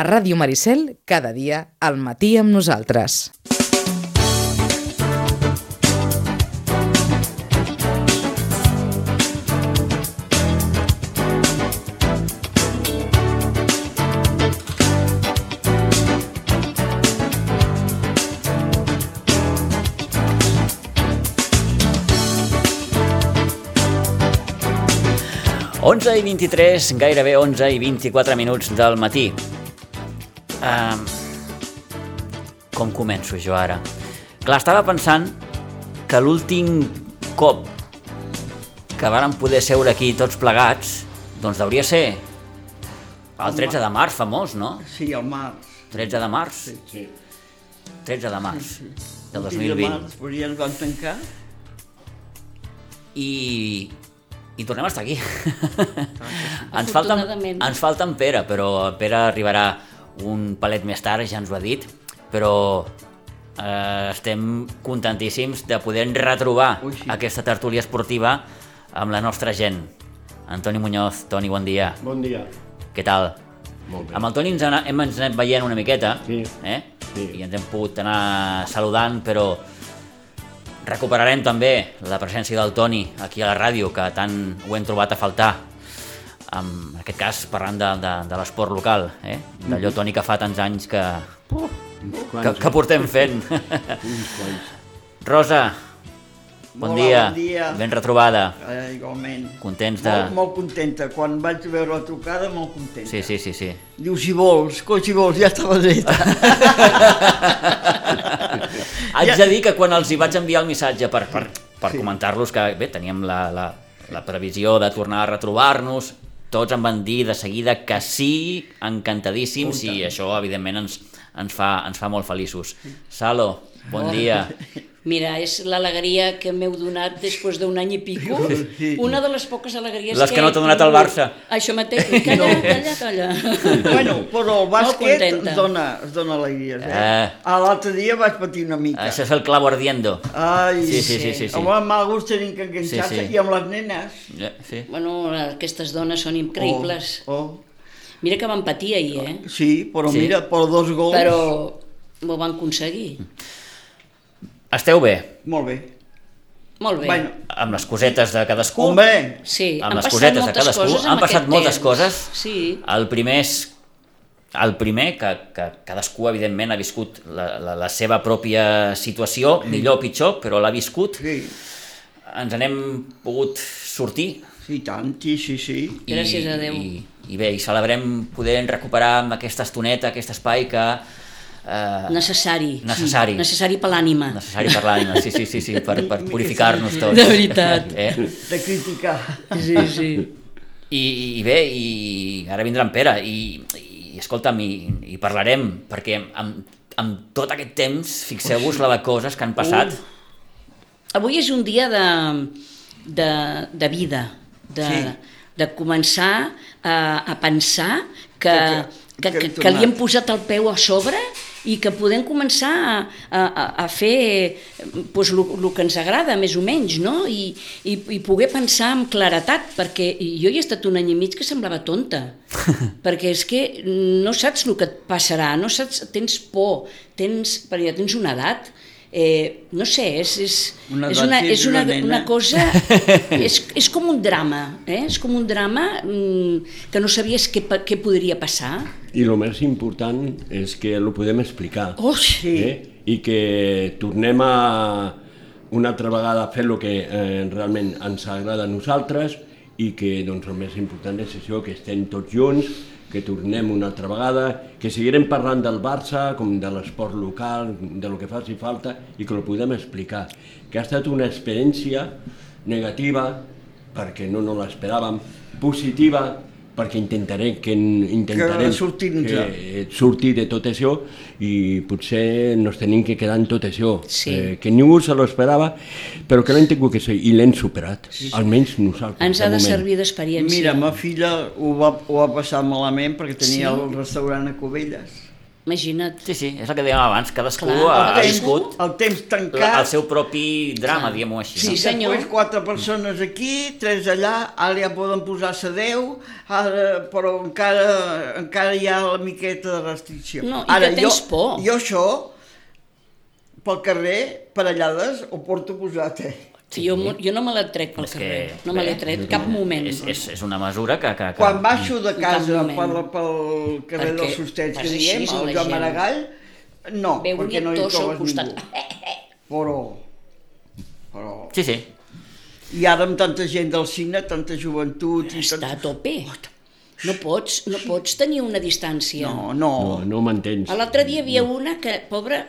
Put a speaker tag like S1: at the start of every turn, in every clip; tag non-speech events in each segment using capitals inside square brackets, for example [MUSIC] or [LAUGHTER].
S1: A Ràdio Maricel, cada dia, al matí amb nosaltres.
S2: Onze i 23, gairebé 11 i 24 minuts del matí. Um, com començo jo ara? Clar, estava pensant que l'últim cop que vàrem poder seure aquí tots plegats, doncs hauria ser el 13 de març, famós, no?
S3: Sí, al març.
S2: 13 de març,
S3: Sí.
S2: 13 de març de
S3: I
S2: 2020.
S3: març, però ja ens van tancar.
S2: I, i tornem a estar aquí. ens, falta,
S4: Afortunadament.
S2: ens falta en Pere, però en Pere arribarà un palet més tard, ja ens ho ha dit, però eh, estem contentíssims de poder retrobar
S3: Ui, sí.
S2: aquesta tertúlia esportiva amb la nostra gent. Antoni Muñoz, Toni, bon dia.
S5: Bon dia.
S2: Què tal?
S5: Molt
S2: Amb el Toni ens ana, hem ens anat veient una miqueta,
S5: Sí.
S2: eh?
S5: Sí.
S2: I ens hem pogut anar saludant, però recuperarem també la presència del Toni aquí a la ràdio, que tant ho hem trobat a faltar. En aquest cas, parlant de, de, de l'esport local, eh? D'allò, Toni, que fa tants anys que,
S5: Mhm. Uns eh?
S2: que, que portem fent.
S5: Uns quants.
S2: Rosa, bon
S3: Hola,
S2: dia.
S3: bon dia.
S2: Ben retrobada.
S3: Eh, igualment.
S2: Contents de...
S3: Molt, molt contenta. Quan vaig veure la trucada, molt contenta.
S2: Sí, sí, sí, sí.
S3: Diu, si vols, coi, si vols, ja estava
S2: Ah.
S3: dreta.
S2: Haig
S3: Ja-
S2: de dir que quan els hi vaig enviar el missatge per, per, per
S3: Sí.
S2: comentar-los que bé, teníem la, la, la previsió de tornar a retrobar-nos, tots em van dir de seguida que sí, encantadíssims, i això evidentment ens, ens, fa, ens fa molt feliços. Salo, bon dia.
S4: Mira, és l'alegria que m'heu donat després d'un any i pico.
S3: Sí.
S4: Una de les poques alegries
S2: Les que no
S4: he
S2: t'ha donat el
S4: tingut.
S2: Barça.
S4: Això
S2: [LAUGHS]
S4: mateix. Calla, calla, calla.
S3: [LAUGHS] bueno, però el bàsquet
S4: contenta.
S3: ens dona, ens dona alegries, eh?
S2: Eh. Ah,
S3: Ah, L'altre dia vaig patir una mica.
S2: Això és el clavo ardiendo.
S3: Ai,
S2: Sí, sí, sí, sí, sí.
S3: Amb el mal gust tenim que enganxar-se
S2: Sí, sí.
S3: i amb les nenes.
S2: Eh, Sí.
S4: Bueno, aquestes dones són increïbles.
S3: Oh, oh.
S4: Mira que van patir ahir, eh?
S3: Sí, però
S2: Sí.
S3: mira, per dos
S2: Oh.
S3: gols.
S4: Però ho van aconseguir.
S2: Esteu bé?
S3: Molt bé.
S4: Molt bé.
S3: Bueno,
S2: Amb les cosetes de cadascú?
S3: Home,
S4: sí,
S2: amb
S4: han
S2: les
S4: passat
S2: cosetes de
S4: moltes
S2: cadascú.
S4: coses en
S2: Han passat
S4: aquest
S2: moltes
S4: temps.
S2: coses.
S4: Sí.
S2: El primer és el primer, que, que cadascú evidentment ha viscut la, la, la seva pròpia situació, millor o pitjor, però l'ha viscut,
S3: Mm. sí,
S2: ens n'hem pogut sortir.
S3: sí, tant, sí, sí, sí.
S4: Gràcies
S2: i,
S4: a Déu.
S2: I, I bé, i celebrem poder recuperar amb aquesta estoneta, aquest espai que... Eh,
S4: Necessari.
S2: Necessari.
S4: Sí, necessari per l'ànima.
S2: necessari per l'ànima, sí, sí, sí, sí, per, per purificar-nos tots.
S4: De veritat.
S2: [LAUGHS] Eh?
S3: de criticar.
S4: Sí, sí.
S2: I, i bé, i ara vindrà en Pere, i, i escolta'm, i, i parlarem, perquè amb, amb tot aquest temps, fixeu-vos la de coses que han passat.
S4: Avui és un dia de, de, de vida, de,
S3: Sí.
S4: de començar a, a pensar que,
S3: Que- que- que hem
S4: que, que, que li
S3: tornat.
S4: hem posat el peu a sobre i que podem començar a, a, a- a fer pues, lo, lo que ens agrada, més o menys, no? I, i, i poder pensar amb claretat, perquè jo hi he estat un any i mig que semblava tonta, perquè és que no saps el que et passarà, no saps, tens por, tens, perquè ja tens una edat, eh, no sé, és, és,
S3: Una
S4: és,
S3: edat
S4: una,
S3: que
S4: és
S3: és
S4: una,
S3: una nena.
S4: una
S3: [LAUGHS]
S4: cosa... És, és com un drama, eh? és com un drama mm, que no sabies què, pa- què podria passar.
S5: I el més important és que ho podem explicar.
S4: Oh,
S3: Sí.
S5: Eh? I que tornem a una altra vegada a fer el que eh, realment ens agrada a nosaltres i que doncs, el més important és això, que estem tots junts, que tornem una altra vegada, que seguirem parlant del Barça, com de l'esport local, de lo que faci falta, i que ho podem explicar. Que ha estat una experiència negativa, perquè no, no l'esperàvem, positiva, perquè intentaré que n- intentarem
S3: Que sortir-nos-en.
S5: que sortir eh, de tot això i potser ens tenim que quedar en tot això, eh,
S4: Sí.
S5: que ningú se lo esperava, però que l'hem tingut que ser i l'hem superat, almenys nosaltres.
S4: Ens ha de
S5: moment.
S4: servir d'experiència.
S3: Mira, ma filla ho va, ho va passar malament perquè tenia
S4: Sí?
S3: el restaurant a Cubelles
S4: imagina't.
S2: Sí, sí, és el que dèiem abans, cadascú
S4: Clar.
S2: ha, ha
S4: El
S3: temps-
S2: viscut
S3: El temps
S2: la,
S3: tancat.
S2: el seu propi drama, diguem-ho així. no?
S4: Sí,
S3: I
S4: senyor.
S3: Després quatre persones aquí, tres allà, ara ja poden posar-se deu, ara, però encara, encara hi ha la miqueta de restricció.
S4: No, i
S3: ara,
S4: que tens por.
S3: Jo això, pel carrer, parellades, ho porto posat, eh?
S4: Sí. Jo, mo- jo no me la trec pel
S2: És que,
S4: carrer, no me l'he
S2: bé,
S4: tret cap moment.
S2: És, és, és una mesura que... que, que...
S3: Quan baixo de casa
S4: moment.
S3: pel, pel carrer
S4: Perquè
S3: dels Sostets, que
S4: vas així,
S3: diem,
S4: és
S3: el
S4: la
S3: Joan
S4: gent.
S3: Maragall, no,
S4: Veu un
S3: perquè no hi
S4: tos al
S3: trobes
S4: costat. Eh,
S3: ningú. Però, però...
S2: Sí, sí.
S3: I ara amb tanta gent del cine, tanta joventut... I
S4: Està a
S3: tant...
S4: tope. No pots, no pots tenir una distància.
S3: No, no,
S5: No, no m'entens.
S4: A L'altre dia hi havia una que, pobra,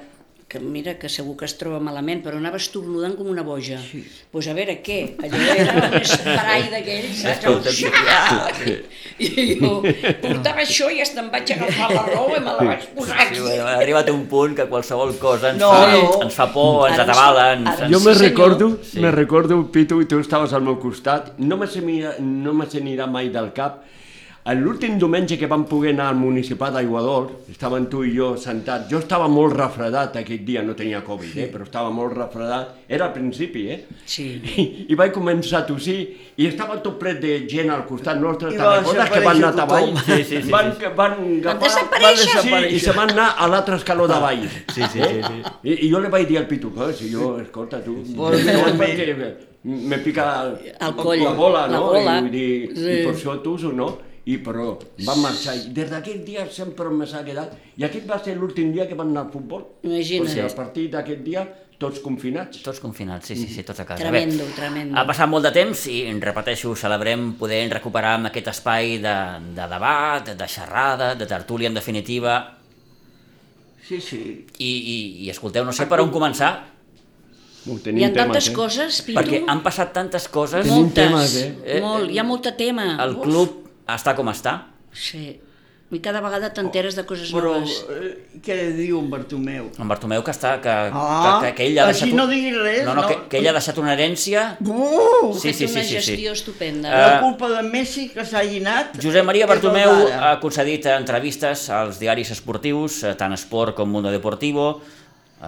S4: que mira que segur que es troba malament, però anava estornudant com una boja. Doncs sí. pues a veure què, allò era un esprai d'aquell, saps?
S2: Escolta,
S4: El... I jo portava això i hasta em vaig agafar la roba i me la vaig posar
S2: Sí,
S4: aquí.
S2: bé, ha arribat un punt que qualsevol cosa ens,
S3: No,
S2: fa,
S3: no.
S2: ens fa por, ens
S4: Ara ens-
S2: atabala, ens...
S4: ara-
S5: Jo
S2: ens...
S5: me
S4: Sí, senyor.
S5: recordo,
S2: Sí.
S5: sí. me recordo, Pitu, i tu estaves al meu costat, no me se mira, no me se n'irà mai del cap, en l'últim diumenge que vam poder anar al municipal d'Aiguador, estaven tu i jo sentats, jo estava molt refredat aquell dia, no tenia Covid, eh, però estava molt refredat, era al principi, eh?
S4: Sí.
S5: I, i vaig començar a tossir, i estava tot ple de gent al costat nostre,
S3: I
S5: te'n
S3: va
S5: recordes que van anar a
S3: desaparèixer
S5: avall?
S3: tothom.
S2: Sí, sí, sí,
S5: van,
S2: sí,
S5: van, agafar-
S4: desaparèixer.
S5: Sí, i se van anar a l'altre escaló d'avall.
S2: Ah. Sí, sí, sí, sí.
S5: I, I jo li vaig dir al Pitu, eh, si jo, escolta, tu,
S3: Vols dir
S5: no,
S3: el
S5: perquè me pica
S4: El coll,
S5: la bola,
S4: la
S5: no?
S4: bola.
S5: I, vull dir,
S4: Sí.
S5: i per això tu o no? I però van marxar. I des d'aquell dia sempre me s'ha quedat. I aquest va ser l'últim dia que van anar al futbol.
S4: Imagina't.
S5: Perquè a partir d'aquest dia, tots confinats.
S2: Tots confinats, sí, sí, sí, tots a casa.
S4: Tremendo, tremendo.
S2: Ha passat molt de temps i, repeteixo, celebrem poder recuperar amb aquest espai de, de debat, de xerrada, de tertúlia, en definitiva,
S3: sí, sí.
S2: i, i, i escolteu, no sé per on començar,
S5: Ho
S4: Hi ha
S5: tenim
S4: tantes
S5: temes, eh?
S4: coses, Pitu,
S2: perquè han passat tantes coses,
S5: Tenim
S4: moltes,
S5: temes, eh?
S2: Eh,
S4: molt, hi ha molt de tema.
S2: el
S4: Uf,
S2: club està com està,
S4: Sí, i cada vegada t'enteres de coses
S3: Però
S4: noves.
S3: eh, què diu en Bartomeu?
S2: en Bartomeu que està, que,
S3: Ah,
S2: que, que, que ell ha deixat...
S3: així
S2: un-
S3: no diguis res,
S2: No, no,
S3: no.
S2: Que, que ell ha deixat una herència...
S3: Uh,
S2: Sí, sí,
S4: Fet
S2: sí,
S4: una
S2: sí, sí.
S4: gestió estupenda.
S3: la
S2: Eh,
S3: culpa de Messi que s'hagi anat...
S2: Josep Maria
S3: és del
S2: Bartomeu eh,
S3: Dada.
S2: ha concedit entrevistes als diaris esportius, eh, tant Esport com Mundo Deportivo. Eh,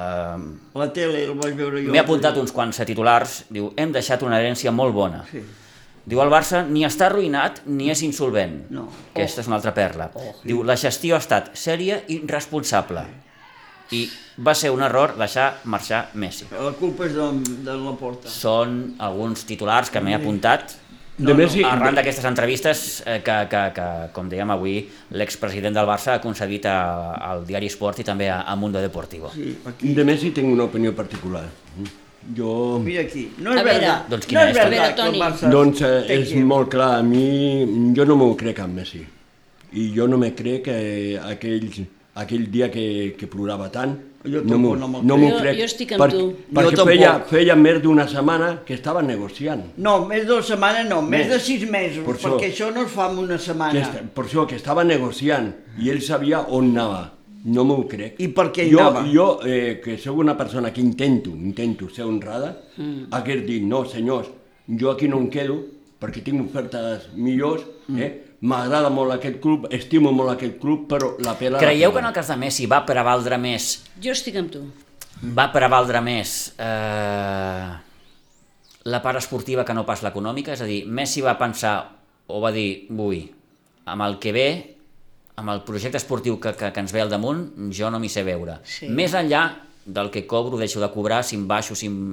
S3: La tele, el vaig veure jo.
S2: M'he apuntat uns quants eh, titulars. Diu, hem deixat una herència molt bona.
S3: Sí.
S2: Diu, el Barça ni està arruïnat ni és insolvent.
S3: No. Oh,
S2: Aquesta és una altra perla. Diu, la gestió ha estat sèria i responsable. I va ser un error deixar marxar Messi.
S3: La culpa és de, de la porta.
S2: Són alguns titulars que m'he apuntat.
S5: Mm. De Messi,
S2: Arran d'aquestes entrevistes eh, que, que, que, com dèiem avui, l'expresident del Barça ha concedit a, al diari Esport i també a, a Mundo Deportivo.
S3: Sí, aquí.
S5: de Messi tinc una opinió particular. Jo...
S3: Mira aquí. No és
S4: A veure.
S3: veritat.
S2: Doncs
S3: no
S2: quina
S3: és
S2: és, Toni?
S3: veritat que
S4: A
S3: el
S4: veure,
S3: Barça
S5: Doncs eh,
S3: té
S5: és
S3: equip.
S5: molt clar, a mi jo no m'ho crec amb Messi. I jo no me crec que aquells, aquell dia que, que plorava tant,
S3: Jo
S5: no m'ho
S3: tampoc no me'l
S5: no m'ho
S4: crec. Jo-
S5: crec.
S4: jo estic amb tu.
S5: Perquè
S3: Jo
S5: feia,
S3: tampoc.
S5: feia més d'una setmana que estava negociant.
S3: No, més de dues setmanes no, més,
S5: Més.
S3: de sis mesos,
S5: Per això.
S3: perquè això no es fa en una
S5: Que
S3: setmana.
S5: est, per això, que estava negociant i ell sabia on anava. No m'ho crec.
S3: I per què hi
S5: jo,
S3: anava?
S5: Jo, eh, que sóc una persona que intento, intento ser honrada, mm. hagués dit, no, senyors, jo aquí no em quedo perquè tinc ofertes millors, mm. eh? m'agrada molt aquest club, estimo molt aquest club, però la pela...
S2: Creieu
S5: la
S2: que en el cas de Messi va prevaldre més
S4: Jo estic amb tu.
S2: va prevaldre més eh, la part esportiva que no pas l'econòmica? És a dir, Messi va pensar o va dir, ui, amb el que ve, amb el projecte esportiu que, que, que ens ve al damunt, jo no m'hi sé veure.
S4: Sí.
S2: Més enllà del que cobro, deixo de cobrar, si em baixo, si em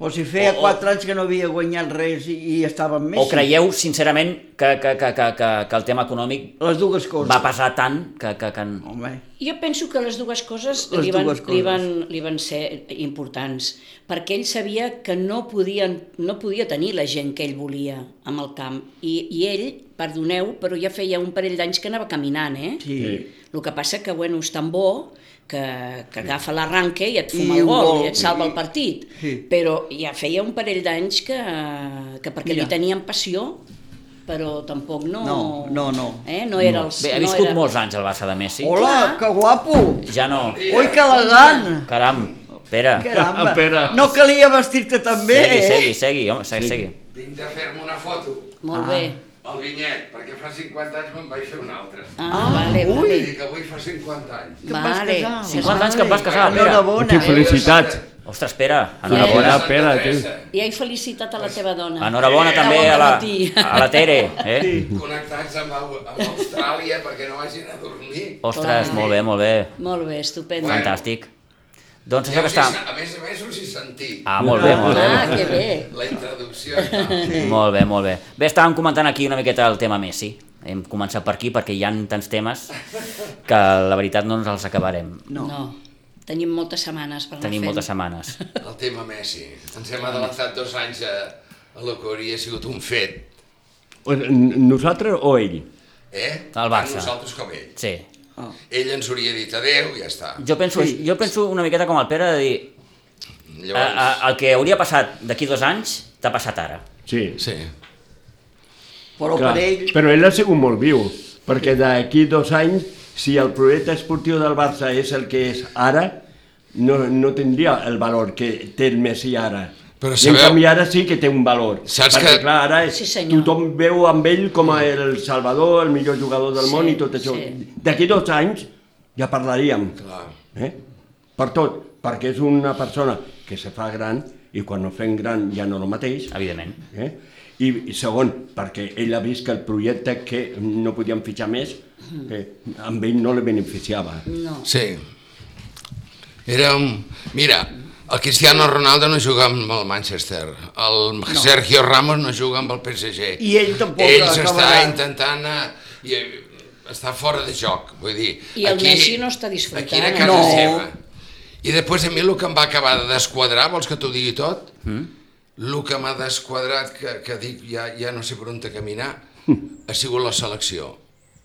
S3: O si feia
S2: O- o-
S3: quatre anys que no havia guanyat res i, i estava amb Messi.
S2: O creieu, sincerament, que, que, que, que, que, que el tema econòmic
S3: Les dues coses.
S2: va pesar tant que... que, que... en-
S3: Home,
S4: Jo penso que les dues coses,
S3: Les
S4: li, van,
S3: dues
S4: Li,
S3: coses.
S4: van, li van ser importants, perquè ell sabia que no, podien, no podia tenir la gent que ell volia amb el camp. I, i ell, perdoneu, però ja feia un parell d'anys que anava caminant, eh?
S3: sí.
S5: Sí.
S4: El que passa que, bueno, és tan bo que, que agafa l'arranque i et fuma
S3: I
S4: el
S3: un
S4: gol,
S3: gol,
S4: i et salva
S3: i-
S4: el partit.
S3: sí.
S4: Però ja feia un parell d'anys que, que perquè
S3: Mira.
S4: li tenien passió, però tampoc no...
S3: No, no, no.
S4: Eh? No era els...
S2: Bé, ha
S4: no
S2: viscut
S4: era...
S2: molts anys el Barça de Messi.
S3: Hola,
S4: clar.
S3: que guapo!
S2: Ja no...
S3: Ui, que elegant!
S2: Caram, Pere,
S3: Caramba,
S5: Espera.
S3: no calia vestir-te tan bé,
S2: segui,
S3: eh?
S2: segui, segui, home, segui, segui.
S6: Vinc de fer-me una foto.
S3: Ah.
S4: Molt bé.
S6: El vinyet, perquè fa 50 anys me'n vaig fer un altre.
S4: Ah, vale,
S3: ui.
S6: Vull
S4: vale.
S6: dir que avui fa 50 anys.
S3: et vas
S4: Vale.
S3: casar.
S2: 50 anys que et vas casar, Pere.
S3: Enhorabona.
S5: Hosti, felicitats.
S2: Ostres, Pere,
S6: Era
S2: enhorabona.
S5: Enhorabona.
S6: Santa
S5: pera,
S6: Teresa.
S4: I he felicitat a la teva dona.
S2: Enhorabona també a la, a la Tere, eh?
S6: Connectats amb, Au- amb Austràlia perquè no vagin a dormir.
S2: Ostres, molt bé, molt bé.
S4: [LAUGHS] Molt bé, estupendo.
S6: Bueno.
S2: Fantàstic. Doncs
S6: Jo
S2: això que
S6: us
S2: està...
S6: hi sa- A més a més us hi sentir.
S2: Ah, molt bé, molt bé.
S4: Ah, que bé.
S6: La introducció i tal.
S2: Molt bé, molt bé. Bé, estàvem comentant aquí una miqueta el tema Messi. Hem començat per aquí perquè hi han tants temes que la veritat no ens els acabarem.
S4: No. no. Tenim moltes setmanes per anar
S2: Tenim
S4: fent.
S2: moltes setmanes.
S6: El tema Messi. Ens hem adelantat dos anys a, a lo que hauria sigut un fet.
S5: O- Pues, n- Nosaltres o ell?
S6: Eh?
S2: El Barça.
S6: Tant nosaltres com ell.
S2: Sí.
S6: Ell ens hauria dit adeu i ja està.
S2: Jo penso, jo penso una miqueta com el Pere de dir a,
S6: Llavors...
S2: a, el que hauria passat d'aquí dos anys t'ha passat ara.
S5: Sí.
S6: Sí.
S3: Però
S5: Clar,
S3: per ell...
S5: Però ell ha sigut molt viu, perquè d'aquí dos anys, si el projecte esportiu del Barça és el que és ara, no, no tindria el valor que té el Messi ara.
S6: Però
S5: I en
S6: sabeu-
S5: canvi ara sí que té un valor.
S6: Saps
S5: perquè,
S6: que-
S5: clar, ara
S4: Sí, senyor.
S5: tothom veu amb ell com a el salvador, el millor jugador del
S4: Sí,
S5: món i tot això.
S4: sí.
S5: D'aquí dos anys ja parlaríem.
S6: Clar.
S5: Eh? Per tot, perquè és una persona que se fa gran i quan no fem gran ja no el mateix.
S2: Evidentment.
S5: Eh? I, I segon, perquè ell ha vist que el projecte que no podíem fitxar més, eh, amb ell no li beneficiava.
S4: No.
S6: Sí. Era un... Mira, el Cristiano Ronaldo no juga amb el Manchester, el no. Sergio Ramos no juga amb el PSG.
S3: I ell tampoc
S6: Ell s'està
S3: acabarà.
S6: intentant... A, i, està fora de joc, vull dir...
S4: I el Messi no està disfrutant. eh?
S6: Aquí era casa
S3: No.
S6: seva. I després a mi el que em va acabar de desquadrar, vols que t'ho digui tot? Mm. El que m'ha desquadrat, que, que dic ja, ja no sé per on te caminar, ha sigut la selecció.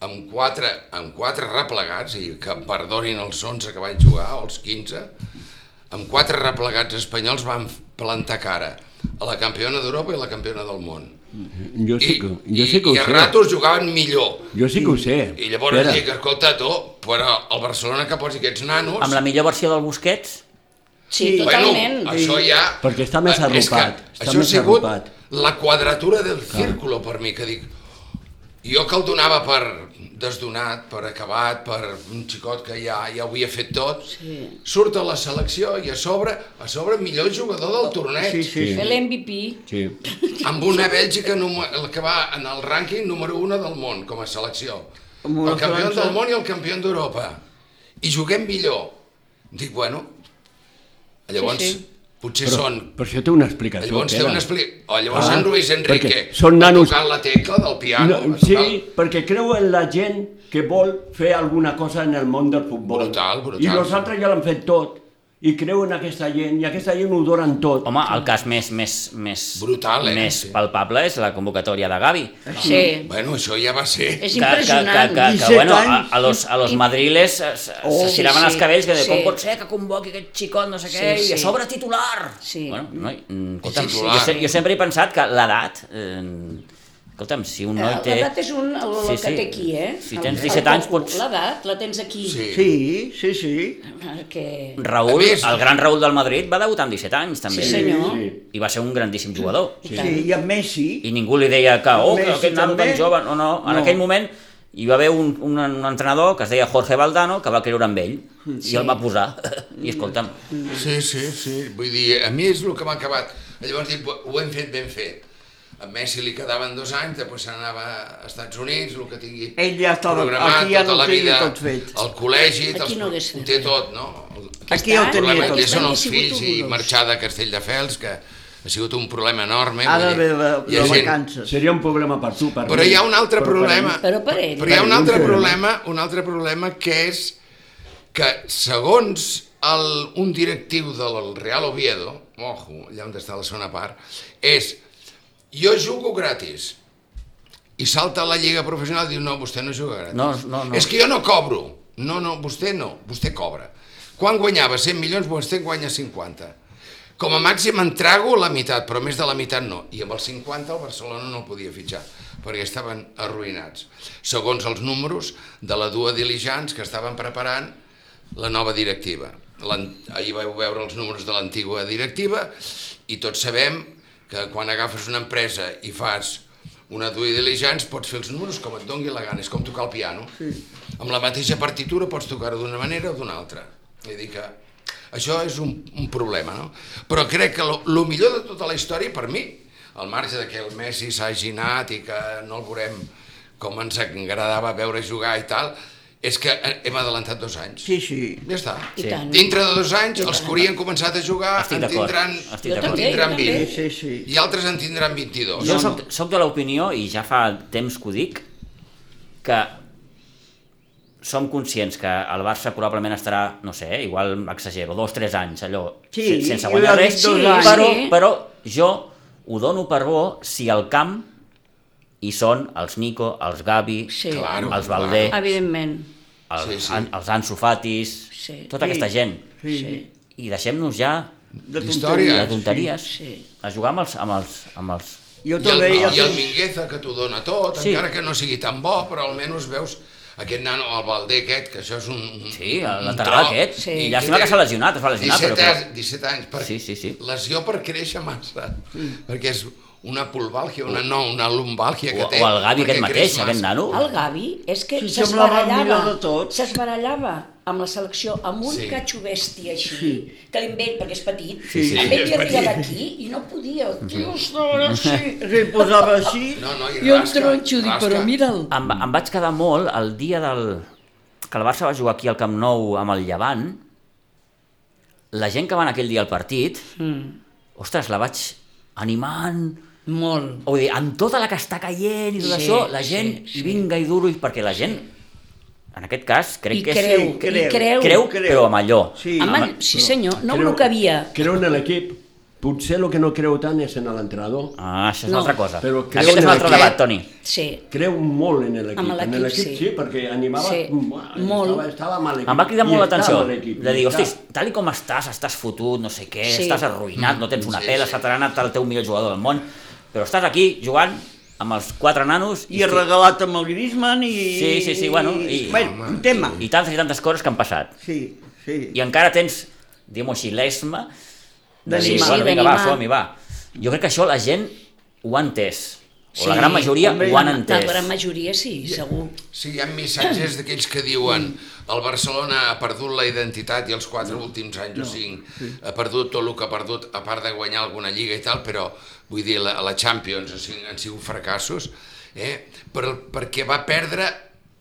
S6: Amb quatre, amb quatre replegats, i que em perdonin els 11 que vaig jugar, o els 15, amb quatre replegats espanyols van plantar cara a la campiona d'Europa i la campiona del món.
S5: Jo sí que,
S6: I,
S5: jo sí que
S6: i, i a
S5: ho sé.
S6: ratos jugaven millor.
S5: Jo sí que ho sé.
S6: I llavors
S5: Espera.
S6: dic, escolta, tu, però el Barcelona que posi aquests nanos...
S2: Amb la millor versió del Busquets,
S4: Sí,
S3: Sí.
S4: totalment.
S6: Bueno, això ja...
S5: Perquè està més
S6: Eh, és que
S5: arrupat, està
S6: Això ha
S5: més
S6: sigut
S5: arrupat.
S6: la quadratura del círculo per mi, que dic... Jo que el donava per desdonat, per acabat, per un xicot que ja, ja ho havia fet tot, sí. surt a la selecció i a sobre, a sobre millor jugador del torneig,
S3: Sí, sí,
S4: Fer l'MVP.
S5: Sí.
S6: amb una Bèlgica nume- el que va en el rànquing número 1 del món com a selecció.
S3: Amb una
S6: El campió
S3: França.
S6: del món i el campió d'Europa. I juguem millor. Dic, bueno, llavors
S4: Sí, sí.
S6: potser
S5: Però,
S6: són
S5: però això té una explicació.
S6: Llavors té
S5: Pere.
S6: un expli... O llavors
S5: Ah,
S6: en Luis Enrique,
S5: perquè són nanos-
S6: tocant la tecla del piano,
S5: No,
S6: va
S5: sí,
S6: tocar-
S5: perquè creu en la gent que vol fer alguna cosa en el món del futbol.
S6: Brutal, brutal.
S5: I els altres ja l'han fet tot. I creu en aquesta gent, i aquesta gent ho donen tot.
S2: home, el cas més, més, més,
S6: Brutal, eh?
S2: més
S6: Sí.
S2: palpable és la convocatòria de Gavi.
S4: Sí.
S6: Bueno, això ja va ser.
S4: És
S2: que, que,
S4: impressionant.
S2: que, que, que
S3: 17
S2: bueno, a,
S3: anys.
S2: a, los, a los madriles oh,
S4: Oh,
S2: se tiraven
S4: sí,
S2: sí, els cabells que de,
S4: sí.
S2: com pot ser que convoqui aquest xicot no sé
S4: Sí,
S2: què i a
S4: sí.
S2: sobre titular
S4: Sí.
S2: bueno, no, mm, escolta'm,
S6: Sí, sí,
S2: jo,
S6: sí.
S2: se- jo sempre he pensat que l'edat eh, escolta'm, si un noi té
S4: Eh, L'edat és un, el, el
S2: Sí,
S4: que
S2: sí.
S4: té aquí, eh?
S2: Si
S4: El-
S2: tens
S4: el
S2: 17 anys,
S4: que-
S2: pots-
S4: L'edat la tens aquí.
S6: Sí.
S3: sí, sí, sí.
S4: Perquè...
S2: Raül,
S6: A més-
S2: el gran Raül del Madrid va debutar amb 17 anys també
S4: Sí, senyor.
S5: Sí.
S2: i va ser un grandíssim jugador
S4: I
S3: Sí,
S4: tant.
S3: i amb Messi,
S2: i ningú li deia que, oh, que
S3: Messi
S2: aquest nano tan
S3: també?
S2: jove no, no, en
S3: No.
S2: aquell moment hi va haver un, un, un entrenador que es deia Jorge Valdano que va creure en ell i el va posar [LAUGHS] i escolta'm,
S6: Sí, sí, sí. Vull dir, a mi és el que m'ha acabat. Llavors dic, ho hem fet ben fet. A Messi li quedaven dos anys, després se n'anava a Estats Units, el que tingui
S3: Ell ja estava-
S6: programat
S3: aquí ja
S6: tota
S3: no
S6: la
S3: tenia
S6: vida,
S3: tot fet.
S6: el col·legi,
S4: Aquí
S6: els-
S4: no hagués
S6: ho
S4: fet
S6: té
S4: res.
S6: tot, no? El-
S3: Aquí ja ho
S6: el
S3: tenia
S6: problema
S3: tot.
S6: que són els
S4: Hauria sigut
S6: fills i
S4: horrorós.
S6: marxar de Castelldefels, que ha sigut un problema enorme.
S3: ara
S6: vull
S3: ve
S6: dir,
S3: de,
S6: hi ha
S3: de
S6: gent-
S3: vacances.
S5: Seria un problema per tu, per
S6: Però
S5: mi.
S6: hi ha un altre
S5: Però per
S6: problema.
S4: Però per ell.
S6: Però hi ha un
S5: Per
S6: altre
S5: ningú.
S6: problema, un altre problema que és que segons el, un directiu del Real Oviedo, ojo, allà on està la segona part, és jo jugo gratis i salta a la lliga professional i diu no, vostè no juga gratis.
S2: No, no, no.
S6: És que jo no cobro. No, no, vostè no, vostè cobra. Quan guanyava 100 milions, vostè en guanya 50. Com a màxim en trago la meitat, però més de la meitat no. I amb els 50 el Barcelona no el podia fitxar, perquè estaven arruïnats. Segons els números de la Dua Diligents que estaven preparant la nova directiva. L'an- Ahir vau veure els números de l'antiga directiva i tots sabem que quan agafes una empresa i fas una due diligence, pots fer els números com et dongui la gana, és com tocar el piano. Sí. Amb la mateixa partitura pots tocar-ho d'una manera o d'una altra. Vull dir que això és un, un problema, no? Però crec que el millor de tota la història, per mi, al marge de que el Messi s'hagi anat i que no el veurem com ens agradava veure jugar i tal, és que eh, hem adelantat dos anys.
S3: Sí, sí.
S6: Ja està.
S4: I Sí. tant.
S6: Dintre de dos anys,
S4: I
S6: els
S4: tant.
S6: que haurien començat a jugar
S2: Estic
S6: en
S2: d'acord,
S6: tindran,
S2: estic
S6: en
S2: d'acord.
S4: Jo
S6: tindran
S4: també, jo
S6: 20
S3: Sí, sí, sí.
S6: i altres en tindran 22.
S2: Jo
S3: Jo
S2: soc,
S3: no.
S2: soc de l'opinió, i ja fa temps que ho dic, que som conscients que el Barça probablement estarà, no sé, eh, igual exagero, dos, tres anys, allò,
S3: Sí,
S2: se- sense
S3: jo
S2: guanyar
S3: he
S2: res,
S3: dit dos
S4: anys.
S2: però,
S4: Sí.
S2: però jo ho dono per bo si al camp hi són els Nico, els Gavi,
S4: Sí.
S6: Claro,
S2: els Valdé,
S4: Evidentment.
S2: els,
S6: Sí, sí.
S2: An- els Ansu Fatis,
S4: Sí.
S2: tota aquesta gent.
S3: Sí.
S2: I deixem-nos ja
S3: De
S2: de
S6: D'història. Sí,
S2: tonteries
S4: sí.
S2: a jugar amb els, amb els, amb els
S3: Jo
S6: I el,
S3: també...
S6: i
S3: jo-
S6: el Mingueza, que t'ho dona tot,
S2: Sí.
S6: sí. encara que no sigui tan bo, però almenys veus aquest nano, el Valdé aquest, que això és un... un
S2: Sí,
S6: un
S2: el lateral
S6: tro.
S2: aquest.
S4: Sí.
S2: Sí.
S6: I
S2: Llàstima
S6: té
S2: que s'ha lesionat, es va lesionar,
S6: 17,
S2: però... Que...
S6: anys- 17 anys, per,
S2: Sí, sí, sí.
S6: lesió per créixer massa, perquè és una pulvàlgia, una, no, una lumbàlgia
S2: O,
S6: que té.
S2: o el Gavi aquest
S6: perquè
S2: mateix,
S6: creix
S2: aquest
S6: massa.
S2: nano.
S4: El Gavi és que
S3: Sí, semblava el
S4: s'esbarallava
S3: millor de tots.
S4: s'esbarallava amb la selecció amb un
S6: Sí.
S4: sí. catxo bèstia així, que l'invent, perquè és petit,
S3: Sí, sí,
S4: a ell
S6: és
S4: li arribava
S6: petit.
S4: aquí i no podia, el tio
S3: Ara sí, que
S5: em
S3: hi posava així.
S6: No, no, i
S7: I un
S6: rasca,
S7: tronxo, dic,
S6: rasca.
S7: però mira'l.
S2: Em, em vaig quedar molt el dia del... que el Barça va jugar aquí al Camp Nou amb el Llevant. La gent que va anar aquell dia al partit,
S4: Mm.
S2: ostres, la vaig animant...
S7: Molt.
S2: O dir, amb tota la que està caient i tot
S4: Sí,
S2: això, la
S4: sí,
S2: gent
S4: sí.
S2: vinga i duro, i perquè la gent, en aquest cas, crec
S4: I
S2: que
S4: creu,
S2: és...
S4: i creu.
S2: creu, però amb allò.
S3: Sí.
S4: Home,
S3: Home,
S4: sí senyor, no creu... el que havia.
S5: Creu en l'equip. Potser el que no creu tant és en l'entrenador.
S2: Ah, això és una
S4: No.
S2: altra cosa.
S5: Però creu
S2: Aquest és
S5: en
S2: un altre
S5: aquest.
S2: debat, Toni.
S4: Sí.
S5: Creu molt en l'equip.
S4: En l'equip,
S5: sí.
S4: sí.
S5: sí. perquè animava...
S4: Sí,
S5: Buah,
S4: molt.
S5: Estava, estava mal equip.
S2: Em va cridar
S5: I
S2: molt l'atenció,
S5: estava l'equip,
S2: de dir,
S5: i
S2: hostis,
S5: estava-
S2: tal i com estàs, estàs fotut, no sé què,
S4: Sí.
S2: estàs arruïnat, no tens una
S6: Sí,
S2: pela,
S6: sí.
S2: s'ha trenat el teu millor jugador del món, però estàs aquí jugant amb els quatre nanos
S3: I regalat amb el Griezmann i...
S2: Sí, sí, sí, bueno, i-
S3: Bueno, un tema.
S2: i tantes i tantes coses que han passat.
S3: Sí, sí.
S2: I encara tens, diguem-ho així, l'esma de dir,
S3: D'animar.
S2: bueno,
S4: Sí,
S2: vinga, va,
S4: d'animar.
S2: som-hi, va. Jo crec que això la gent ho ha entès, o la
S4: Sí,
S2: gran majoria
S3: hombre,
S2: ho han
S4: La gran
S2: entès.
S4: majoria sí, segur.
S6: Sí, hi ha missatges d'aquells que diuen el Barcelona ha perdut la identitat i els quatre últims anys o cinc ha perdut tot el que ha perdut, a part de guanyar alguna lliga i tal, però vull dir, la, la Champions o sigui, han sigut fracassos, eh? però, perquè va perdre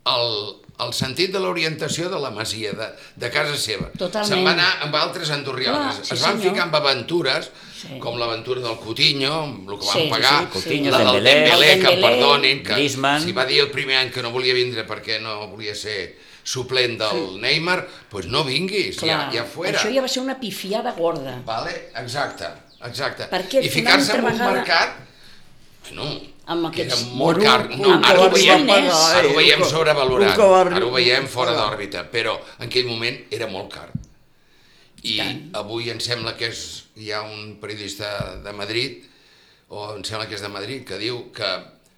S6: el, el sentit de l'orientació de la masia, de, de casa seva.
S4: Totalment.
S6: Se'n va anar amb altres andorrianes.
S4: Clar, sí,
S6: es van
S4: senyor.
S6: ficar amb aventures,
S4: Sí.
S6: com l'aventura del Coutinho, amb el que van
S4: Sí,
S6: pagar,
S4: sí, sí.
S2: Coutinho,
S6: la del
S2: Dembélé.
S6: Dembélé, que em
S4: Dembélé,
S6: perdonin, que
S2: Griezmann.
S6: si va dir el primer any que no volia vindre perquè no volia ser suplent del sí. Neymar, doncs pues no vinguis,
S4: Clar,
S6: ja, ja fuera.
S4: això ja va ser una pifiada gorda.
S6: Vale? Exacte, exacte.
S4: Perquè
S6: I
S4: una
S6: ficar-se en un
S4: altra vegada-
S6: mercat, bueno,
S4: Amb
S6: que era
S4: aquests
S6: molt car. No,
S4: amb
S6: ara ho
S4: aquests
S6: veiem,
S4: diners.
S6: ara ho veiem
S3: Un co-
S6: sobrevalorat,
S3: un covardi-
S6: ara ho veiem fora d'òrbita, però en aquell moment era molt car. I avui em sembla que és, hi ha un periodista de Madrid, o em sembla que és de Madrid, que diu que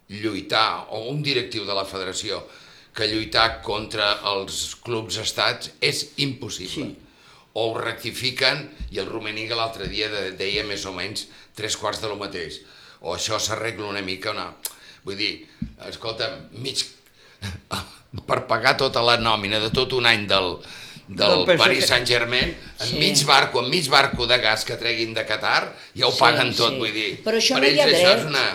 S6: lluitar, o un directiu de la federació, que lluitar contra els clubs estats és impossible. O ho rectifiquen, i el Rumeniga l'altre dia de, deia més o menys tres quarts de lo mateix. O això s'arregla una mica o no. Vull dir, escolta'm, mig... [LAUGHS] per pagar tota la nòmina de tot un any del, del,
S3: Del PSG.
S6: Paris Saint-Germain, en
S4: Sí.
S6: mig barco, en mig barco de gas que treguin de Qatar, ja ho
S4: Sí,
S6: paguen tot,
S4: sí.
S6: vull dir.
S4: Però això
S6: per
S4: no hi
S6: ells
S4: ha
S6: això
S4: dret.
S6: és una...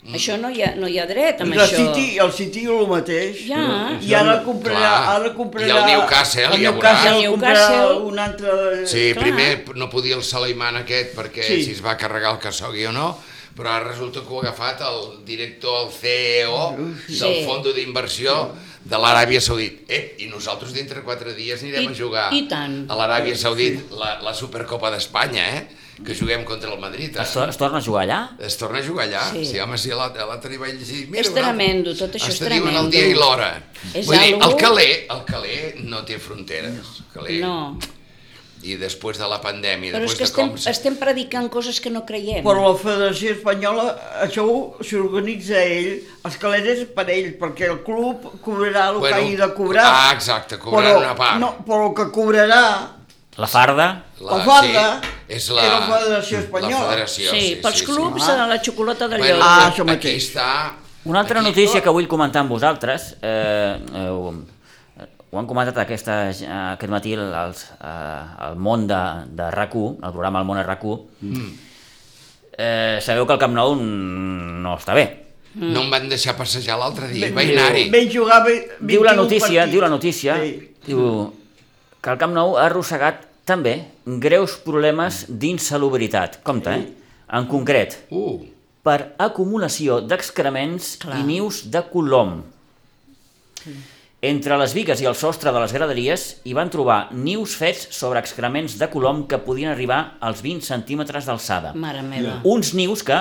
S6: Mm.
S4: Això no hi ha, no hi ha dret amb
S3: I la
S4: això.
S3: City, el City el mateix.
S4: Ja.
S3: I ara comprarà...
S6: Clar.
S3: Ara comprarà
S6: I el Newcastle,
S3: el
S6: ja
S3: Newcastle,
S4: veuràs.
S3: comprarà
S4: Newcastle.
S3: un altre...
S6: Sí,
S4: clar.
S6: primer no podia el Saleiman aquest perquè
S3: Sí.
S6: si es va carregar el Khashoggi o no, però ara resulta que ho ha agafat el director, el CEO del
S4: Sí.
S6: Fondo d'Inversió de l'Aràbia Saudit. Ep, i nosaltres dintre de quatre dies anirem
S4: I-
S6: a jugar
S4: i tant.
S6: a l'Aràbia Saudit la, la Supercopa d'Espanya, eh? que juguem contra el Madrid.
S2: Es, to-
S6: Eh?
S2: es torna a jugar allà?
S6: Es torna a jugar allà?
S4: Sí.
S6: Sí, home, sí, l'altre l'altre dia vaig llegir...
S4: És
S6: un altre-
S4: tremendo, tot això és
S6: Hasta diuen
S4: tremendo.
S6: el dia i l'hora.
S4: És
S6: Vull dir,
S4: algo-
S6: el Calé, el Calé no té fronteres. El Calé,
S4: No,
S6: i després de la pandèmia,
S4: però és
S6: després
S4: que estem,
S6: de com...
S4: estem predicant coses que no creiem.
S3: Però la Federació Espanyola, això ho- s'organitza ell, els calés és per ell, perquè el club cobrarà el que
S6: Bueno,
S3: hagi de cobrar.
S6: ah, exacte, cobraran una part.
S3: No, però el que cobrarà
S2: La farda?
S3: la farda,
S6: sí, És la,
S3: Era Federació Espanyola.
S6: La federació,
S4: sí,
S6: sí,
S4: pels clubs
S3: Ah.
S4: a la xocolata del
S6: Bueno,
S4: lloc.
S3: Ah,
S6: ah,
S3: això
S6: aquí
S3: mateix.
S6: està...
S2: Una altra
S6: aquí,
S2: notícia que vull comentar amb vosaltres, eh, eh, ho, eh, ho han comentat aquesta, eh, aquest matí el- els, eh, el món de, de RAC1, el programa El món a RAC1, mm. eh, sabeu que el Camp Nou mm, no està bé.
S6: No em van deixar passejar l'altre dia, vaig anar-hi.
S3: Vam jugar ve-
S2: Diu la
S3: 21
S2: notícia,
S3: partits.
S2: diu la notícia,
S3: Sí.
S2: diu que el Camp Nou ha arrossegat també greus problemes d'insalubritat. Compte, eh? En concret,
S6: Uh,
S2: per acumulació d'excrements
S4: Clar.
S2: i nius de colom. Entre les vigues i el sostre de les graderies hi van trobar nius fets sobre excrements de colom que podien arribar als 20 centímetres d'alçada.
S4: Mare meva.
S2: Uns nius que,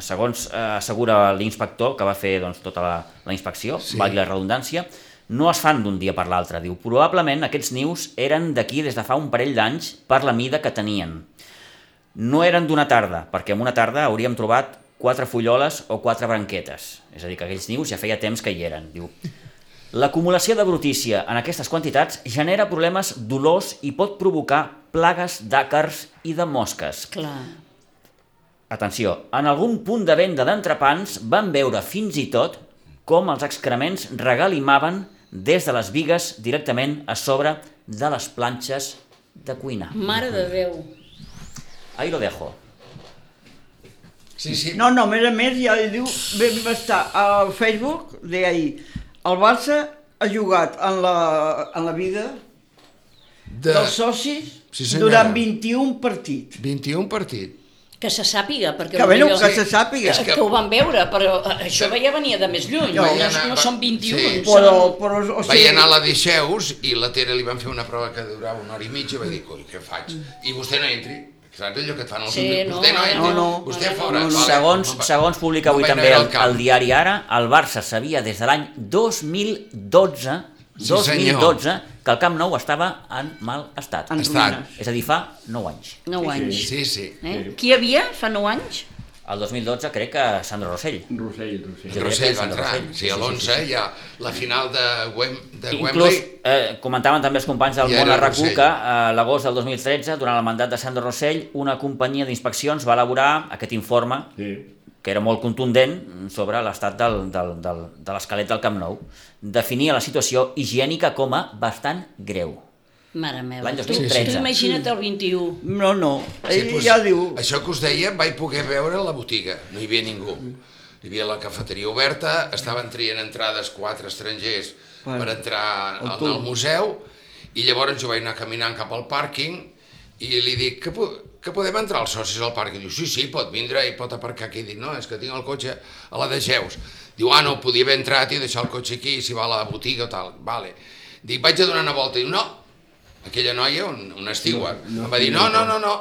S2: segons eh, assegura l'inspector que va fer doncs, tota la, la inspecció, sí. valgui la redundància, no es fan d'un dia per l'altre. Diu, probablement aquests nius eren d'aquí des de fa un parell d'anys per la mida que tenien. No eren d'una tarda, perquè en una tarda hauríem trobat quatre fulloles o quatre branquetes. És a dir, que aquells nius ja feia temps que hi eren. Diu, L'acumulació de brutícia en aquestes quantitats genera problemes, dolors i pot provocar plagues d'àcars i de mosques.
S4: Clar.
S2: Atenció, en algun punt de venda d'entrepans van veure fins i tot com els excrements regalimaven des de les vigues directament a sobre de les planxes de cuinar.
S4: Mare de Déu.
S2: Ahí lo dejo.
S6: sí, sí.
S3: No, no, a més a més, ja li diu, vam estar al Facebook d'ahir. El Barça ha jugat en la, en la vida
S6: De
S3: dels socis
S6: Sí, senyora.
S3: durant 21 partits.
S6: 21 partit.
S4: Que se sàpiga, perquè...
S3: Que bé, no,
S4: potser-
S3: que se sàpiga.
S6: És
S4: que, que ho van veure, però eh, això ja venia de més lluny, no,
S6: Vaig
S4: no,
S6: anar-
S4: no són 21,
S6: sí.
S4: sí.
S3: Però, però, o
S6: Vaig
S3: sigui,
S6: anar a la Deixeus i la Tere li van fer una prova que durava una hora i mitja i va dir, coi, què faig? I vostè no entri. Saps allò que et fan els
S4: Sí,
S6: indis?
S4: no,
S6: vostè no,
S4: no,
S6: entri,
S3: no, no,
S6: vostè
S4: no, no,
S3: no,
S6: fora.
S3: no.
S6: Vale,
S2: Segons,
S6: no va-
S2: segons publica
S6: no
S2: avui
S6: vaig
S2: també
S6: anar
S2: el,
S6: al camp.
S2: el diari Ara, el Barça sabia des de l'any 2012
S6: Sí,
S2: 2012 que el Camp Nou estava en mal estat.
S3: En
S6: Estat.
S3: ruïnes.
S2: És a dir, fa 9 anys.
S4: 9 anys.
S6: Sí, sí.
S4: Eh? Qui hi havia fa 9 anys?
S2: El 2012 crec que Sandro Rossell.
S5: Rossell, Rossell.
S2: Jo crec que
S6: Rossell
S2: és
S6: va
S2: el
S6: entrar,
S2: Rossell. Sí,
S6: sí, a
S2: sí,
S6: l'11 hi ha la final de, Wem, de
S2: Inclús
S6: Wembley.
S2: eh, comentaven també els companys del
S6: I
S2: món
S6: era
S2: a rac
S6: Rossell.
S2: que eh, l'agost del 2013, durant el mandat de Sandro Rossell, una companyia d'inspeccions va elaborar aquest informe,
S5: Sí.
S2: que era molt contundent, sobre l'estat del, del, del, de l'esquelet del Camp Nou. Definia la situació higiènica com a bastant greu.
S4: Mare meva.
S2: L'any
S4: tu-
S2: 2013.
S4: Tu imagina't el 21.
S3: no, no,
S6: Sí,
S3: ell
S6: doncs,
S3: ja diu...
S6: Això que us deia, vaig poder veure la botiga, no hi havia ningú. Hi havia la cafeteria oberta, estaven traient entrades quatre estrangers
S3: Bueno,
S6: per entrar
S3: el
S6: al,
S3: túnel.
S6: al museu, i llavors jo vaig anar caminant cap al pàrquing i li dic que, po que podem entrar els socis al pàrquing. Diu, sí, sí, pot vindre i pot aparcar aquí. Dic, no, és que tinc el cotxe a la de Geus. Diu, ah, no, podia haver entrat i deixar el cotxe aquí, si va a la botiga o tal. Vale. Dic, vaig a donar una volta. Diu, no, aquella noia, un, una steward,
S5: No, no,
S6: em va dir, no, no, no, no,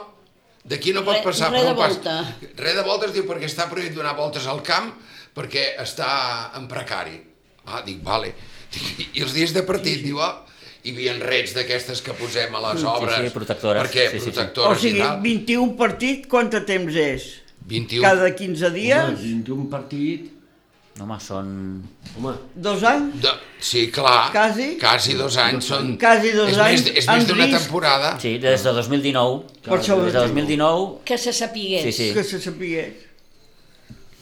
S6: d'aquí no pot
S4: Re-
S6: passar
S4: re
S6: per
S4: de
S6: un pas.
S4: volta.
S6: Re de voltes diu perquè està prohibit donar voltes al camp perquè està en precari. Ah, dic, vale. Dic, I els dies de partit, diu, ah, hi havia rets d'aquestes que posem a les obres.
S2: sí, protectores.
S6: Perquè
S2: Sí, sí, sí.
S3: O
S6: protectores
S3: sigui,
S6: i tal.
S3: 21 partit, quant de temps és?
S6: 21.
S3: Cada 15
S5: Home,
S3: dies?
S5: 21 partit,
S2: No, home, són...
S5: home,
S3: Dos anys?
S6: De... Sí, clar.
S3: Quasi?
S6: Quasi dos anys. Són...
S3: Quasi dos
S6: és
S3: anys
S6: Més, és
S3: amb
S6: més d'una
S3: risc.
S6: temporada.
S2: Sí, des de 2019.
S3: Per això ho
S2: des de
S3: dic.
S2: 2019
S4: Que se sapigués.
S2: Sí, sí.
S3: que se sapigués.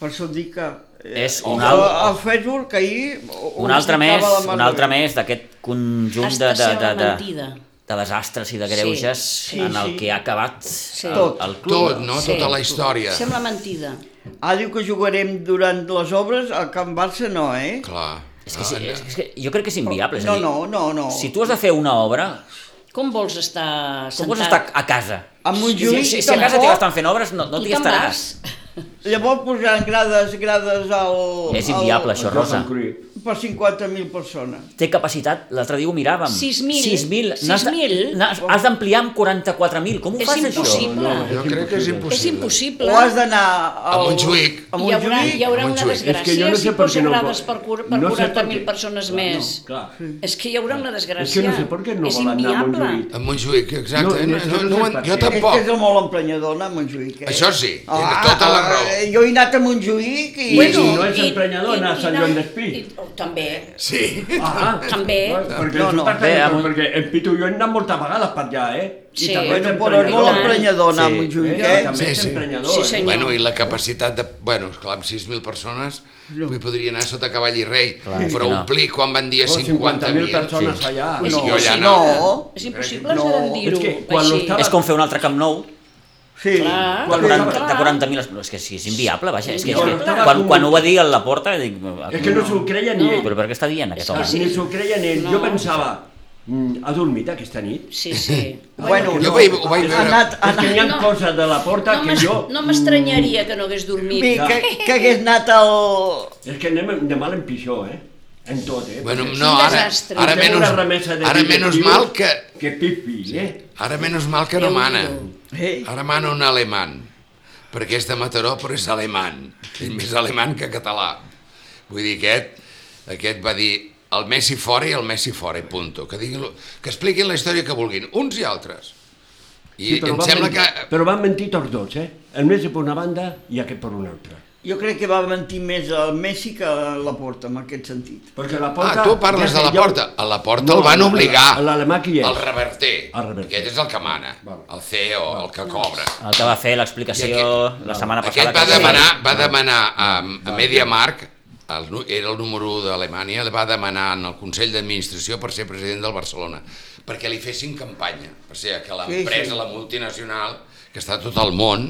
S3: Per això et dic que... eh,
S2: És un
S3: el-
S2: al-
S3: El Facebook que ahir... ho
S2: un altre
S3: explicava
S2: més,
S3: la Marta
S2: un altre
S3: Vega.
S2: més d'aquest conjunt de, de,
S4: Estació
S2: de,
S4: de
S2: de,
S4: mentida.
S2: de desastres i de greuges
S4: Sí,
S3: sí,
S2: en el
S3: sí.
S2: que ha acabat el,
S3: Tot.
S2: el club.
S6: Tot, no?
S4: Sí.
S6: Tota la història.
S4: Sembla mentida.
S3: Ah, diu que jugarem durant les obres, al Camp Barça no, eh?
S6: Clar.
S2: És que, sí,
S6: Ah,
S2: és, és que jo crec que és inviable. Ah, És a
S3: No,
S2: dir,
S3: no, no, no.
S2: Si tu has de fer una obra,
S4: Com vols estar sentat?
S2: com vols estar a casa?
S3: Amb un
S2: Si,
S3: juí,
S2: si, si a
S3: tampoc.
S2: casa t'hi estan fent obres, no, no
S4: Tu
S2: t'hi
S4: te'n
S2: estaràs.
S4: vas?
S3: Llavors posaran grades, grades al...
S2: És inviable,
S3: al,
S2: això, Rosa.
S5: Johan Cruyff.
S3: Per 50.000 persones.
S2: Té capacitat, l'altre dia ho miràvem.
S4: 6.000.
S2: 6.000. N'has de-
S4: 6.000.
S2: n'has- Has d'ampliar amb 44.000. Com ho
S4: És
S2: fas,
S4: impossible.
S2: això?
S5: No,
S4: Clar.
S6: Jo crec que és impossible.
S4: És impossible.
S3: O has d'anar
S6: A
S3: al...
S6: Montjuïc.
S3: A
S4: Hi haurà,
S3: Montjuïc.
S4: hi haurà una
S6: Montjuïc.
S4: desgràcia
S5: És que jo no sé
S4: si
S5: per
S4: posa
S5: què no
S4: grades
S5: vol-
S4: per, cur- per
S5: no sé per
S4: 40.000
S5: què.
S4: persones
S5: Clar,
S4: més.
S5: no, clar.
S4: És que hi haurà una desgràcia.
S5: És que no sé per què no
S4: És
S5: volen anar a
S4: inviable.
S5: Montjuïc.
S6: A Montjuïc, exacte.
S5: No,
S6: No,
S5: és que
S6: no,
S5: no
S6: no,
S5: sé
S6: en-
S5: per què.
S6: jo
S3: És que
S6: tampoc.
S3: és molt emprenyador anar a Montjuïc, eh?
S6: Això sí, tens tota la raó.
S3: eh, Jo he anat a Montjuïc i...
S5: Bueno,
S4: I-
S5: no és
S4: i-
S5: emprenyador
S4: i-
S5: anar a
S4: i
S5: Sant
S4: anar-
S5: Joan Despí.
S4: i- oh, també,
S6: Sí.
S5: Ah,
S4: També.
S5: Perquè
S3: No,
S5: no,
S3: no,
S5: no,
S2: bé,
S5: bé, amb...
S2: amb-
S5: perquè en Pitu i jo hem anat moltes vegades per allà, eh?
S4: Sí.
S5: és
S3: Bueno, però és
S5: emprenyador,
S3: molt
S4: tant.
S3: emprenyador anar amb
S2: Sí.
S3: un
S5: eh?
S3: joiet.
S5: I També
S6: Sí,
S5: és
S6: sí.
S5: emprenyador.
S4: Sí,
S5: eh?
S4: senyor.
S6: Bueno, i la capacitat de... Bueno, esclar, amb 6.000 persones no. podria anar sota cavall i rei, clar, però
S2: no.
S6: omplir quan van dir
S5: Oh,
S6: 50.000...
S5: 50.000 persones
S6: sí.
S5: allà.
S6: Sí,
S5: No,
S6: jo allà
S3: si
S6: no.
S3: no,
S4: És impossible
S5: No,
S4: no, dir-ho.
S5: és que quan
S4: així.
S5: l'estava-
S2: És com fer un altre Camp Nou
S3: sí.
S4: Clar.
S2: de
S5: Quan
S4: Ah, Clar.
S2: 40 de 40.000... persones. És que sí, és inviable, vaja. És que, és
S5: Quan
S2: que
S5: estava
S2: quan,
S5: convocat-
S2: quan ho va dir a la porta... Dic,
S5: És que no s'ho creia ni ell.
S2: Però per què està dient aquest home?
S4: sí.
S5: Ni Ah, s'ho creia ni ell.
S4: No.
S5: Jo pensava, "Mm, ha dormit aquesta nit?
S4: Sí, sí.
S5: [LAUGHS]
S3: Bueno,
S6: Jo
S3: no.
S6: vaig- ho vaig
S3: Ha
S6: veure.
S3: Anat,
S5: És que
S3: anat,
S5: hi ha
S4: No.
S5: coses de la porta
S4: No
S5: que
S4: m'es-
S5: jo...
S4: no m'estranyaria que no hagués dormit.
S3: Vull dir que, que hagués anat al...
S5: És que anem de mal en pitjor, eh? En tot, eh?
S6: Bueno,
S5: Perquè
S6: no, ara,
S4: desastre.
S6: ara,
S5: Tenim una
S6: menys,
S5: remesa de
S6: ara menys
S5: directius
S6: mal que...
S5: Que pipi, eh?
S6: Ara menys mal que no
S4: Déu-n'hi-do.
S6: mana.
S3: Eh?
S6: Ara mana un alemany, perquè és de Mataró, però és alemany. És més alemany que català. Vull dir, aquest, aquest va dir el Messi fora i el Messi fora, i punto. Que, diguin, lo- que expliquin la història que vulguin, uns i altres. I sí, em
S5: van
S6: sembla
S5: mentir,
S6: que...
S5: però van mentir tots dos, eh? El Messi per una banda i aquest per una altra.
S3: Jo crec que va mentir més el Messi que la Porta, en aquest sentit.
S5: Perquè la porta...
S6: Ah, tu parles
S5: ja
S6: de la
S5: sé, jo-
S6: porta. A la porta el van
S5: a-
S6: obligar.
S5: a L'alemà qui és?
S6: El reverter.
S5: El reverter.
S6: Aquest és el que mana,
S5: Val.
S6: el CEO, el que cobra.
S2: El que va fer
S6: I
S2: l'explicació
S6: aquest-
S2: la setmana passada...
S6: Aquest va
S2: que-
S6: demanar, va demanar a, a MediaMark, el, nu- era el número 1 d'Alemanya, va demanar en el Consell d'Administració per ser president del Barcelona, perquè li fessin campanya, per ser que l'empresa,
S3: sí.
S6: la multinacional, que està a tot el món,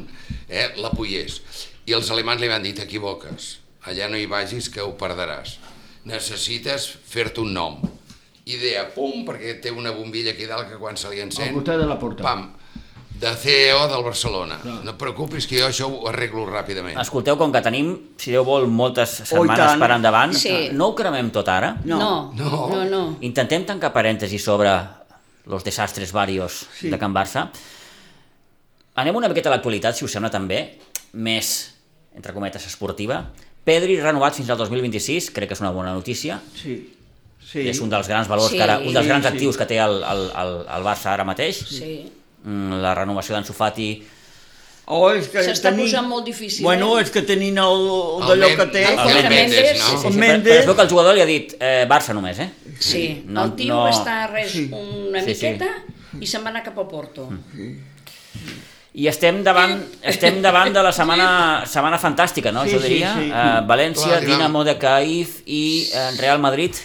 S6: eh, l'apoyés. I els alemans li van dir, t'equivoques, allà no hi vagis que ho perdràs. Necessites fer-te un nom. Idea, pum, perquè té una bombilla aquí dalt que quan se li encén...
S5: Al costat de la porta.
S6: Pam, de CEO del Barcelona. No et preocupis que jo això ho arreglo ràpidament.
S2: Escolteu, com que tenim, si Déu vol, moltes setmanes
S3: Oh, tant.
S2: per endavant,
S4: Sí.
S2: no ho cremem tot ara?
S3: No.
S4: No,
S6: No.
S4: no, no.
S2: Intentem tancar parèntesi sobre los desastres varios sí. de Can Barça. Anem una miqueta a l'actualitat, si us sembla també, més, entre cometes, esportiva. Pedri renovat fins al 2026, crec que és una bona notícia.
S3: Sí. Sí.
S2: Sí. És un dels grans valors,
S4: Sí.
S2: que ara, un dels
S3: Sí,
S2: grans
S3: sí.
S2: actius que té el, el, el, el Barça ara mateix.
S4: Sí.
S2: Mm, La renovació d'Ansu Fati
S3: Oh, és que
S4: S'està posant molt difícil,
S3: Bueno,
S4: eh?
S3: és que tenint el, el d'allò
S6: Men-
S3: que té...
S6: el
S4: Joder,
S6: Mendes,
S4: Mendes,
S6: no?
S4: sí,
S2: Sí,
S3: Mendes.
S2: però, però es veu que el jugador li ha dit eh, Barça només, eh?
S4: Sí,
S2: No,
S4: el tio
S2: no.
S4: va estar res una
S2: Sí, sí.
S4: miqueta i se'n va anar cap a Porto.
S2: I estem
S3: [LAUGHS]
S2: davant, estem davant de la setmana, setmana fantàstica, no?
S3: Sí,
S2: jo
S3: sí,
S2: diria.
S3: sí.
S2: Eh, València,
S6: Clar, Dinamo.
S2: Dinamo de Caif i eh, Real Madrid.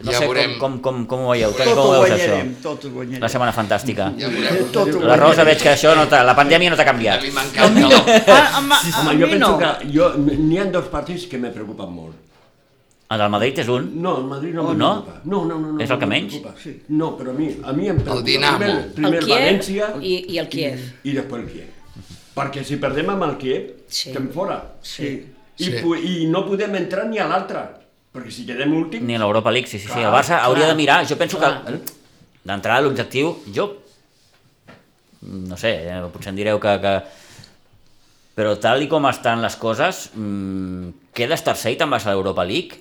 S2: No
S6: Ja
S2: sé
S6: veurem.
S2: com, com, com, com ho veieu. Toni,
S3: Tot
S2: com ho
S3: ho
S2: veus,
S3: guanyarem,
S2: això?
S3: tot ho guanyarem.
S2: La setmana fantàstica.
S6: Ja veureu.
S3: Tot ho
S2: La
S3: guanyarem.
S2: Rosa veig que això no t'ha- la pandèmia no t'ha
S6: A
S2: canviat.
S6: mi m'encanta el...
S3: Ah, a, ma- a,
S5: Home,
S3: mi
S5: jo penso
S3: no.
S5: que jo, n'hi ha dos partits que me preocupen molt.
S2: El del Madrid és un.
S5: No, el Madrid no
S2: Oh,
S5: me
S2: no?
S5: preocupa. No, no, no. no
S2: És el
S5: no
S2: que
S5: me
S2: menys?
S5: preocupa. Sí. No, però a mi, a mi em preocupa.
S6: Dinamo.
S5: Primer, primer
S4: el Kiev
S5: València
S4: i, i el Kiev.
S5: i després el Kiev. Perquè si perdem amb el Kiev,
S4: Sí.
S5: estem fora.
S3: Sí.
S5: I,
S6: Sí.
S5: pu- I no podem entrar ni a l'altre. Perquè si quedem últim...
S2: Ni a l'Europa League, sí, sí, sí. El
S5: Clar,
S2: Barça hauria de mirar. Jo penso que
S5: Clar.
S2: d'entrada l'objectiu, jo no sé, eh, potser em direu que, que però tal i com estan les coses mm, quedes tercer i te'n vas a l'Europa League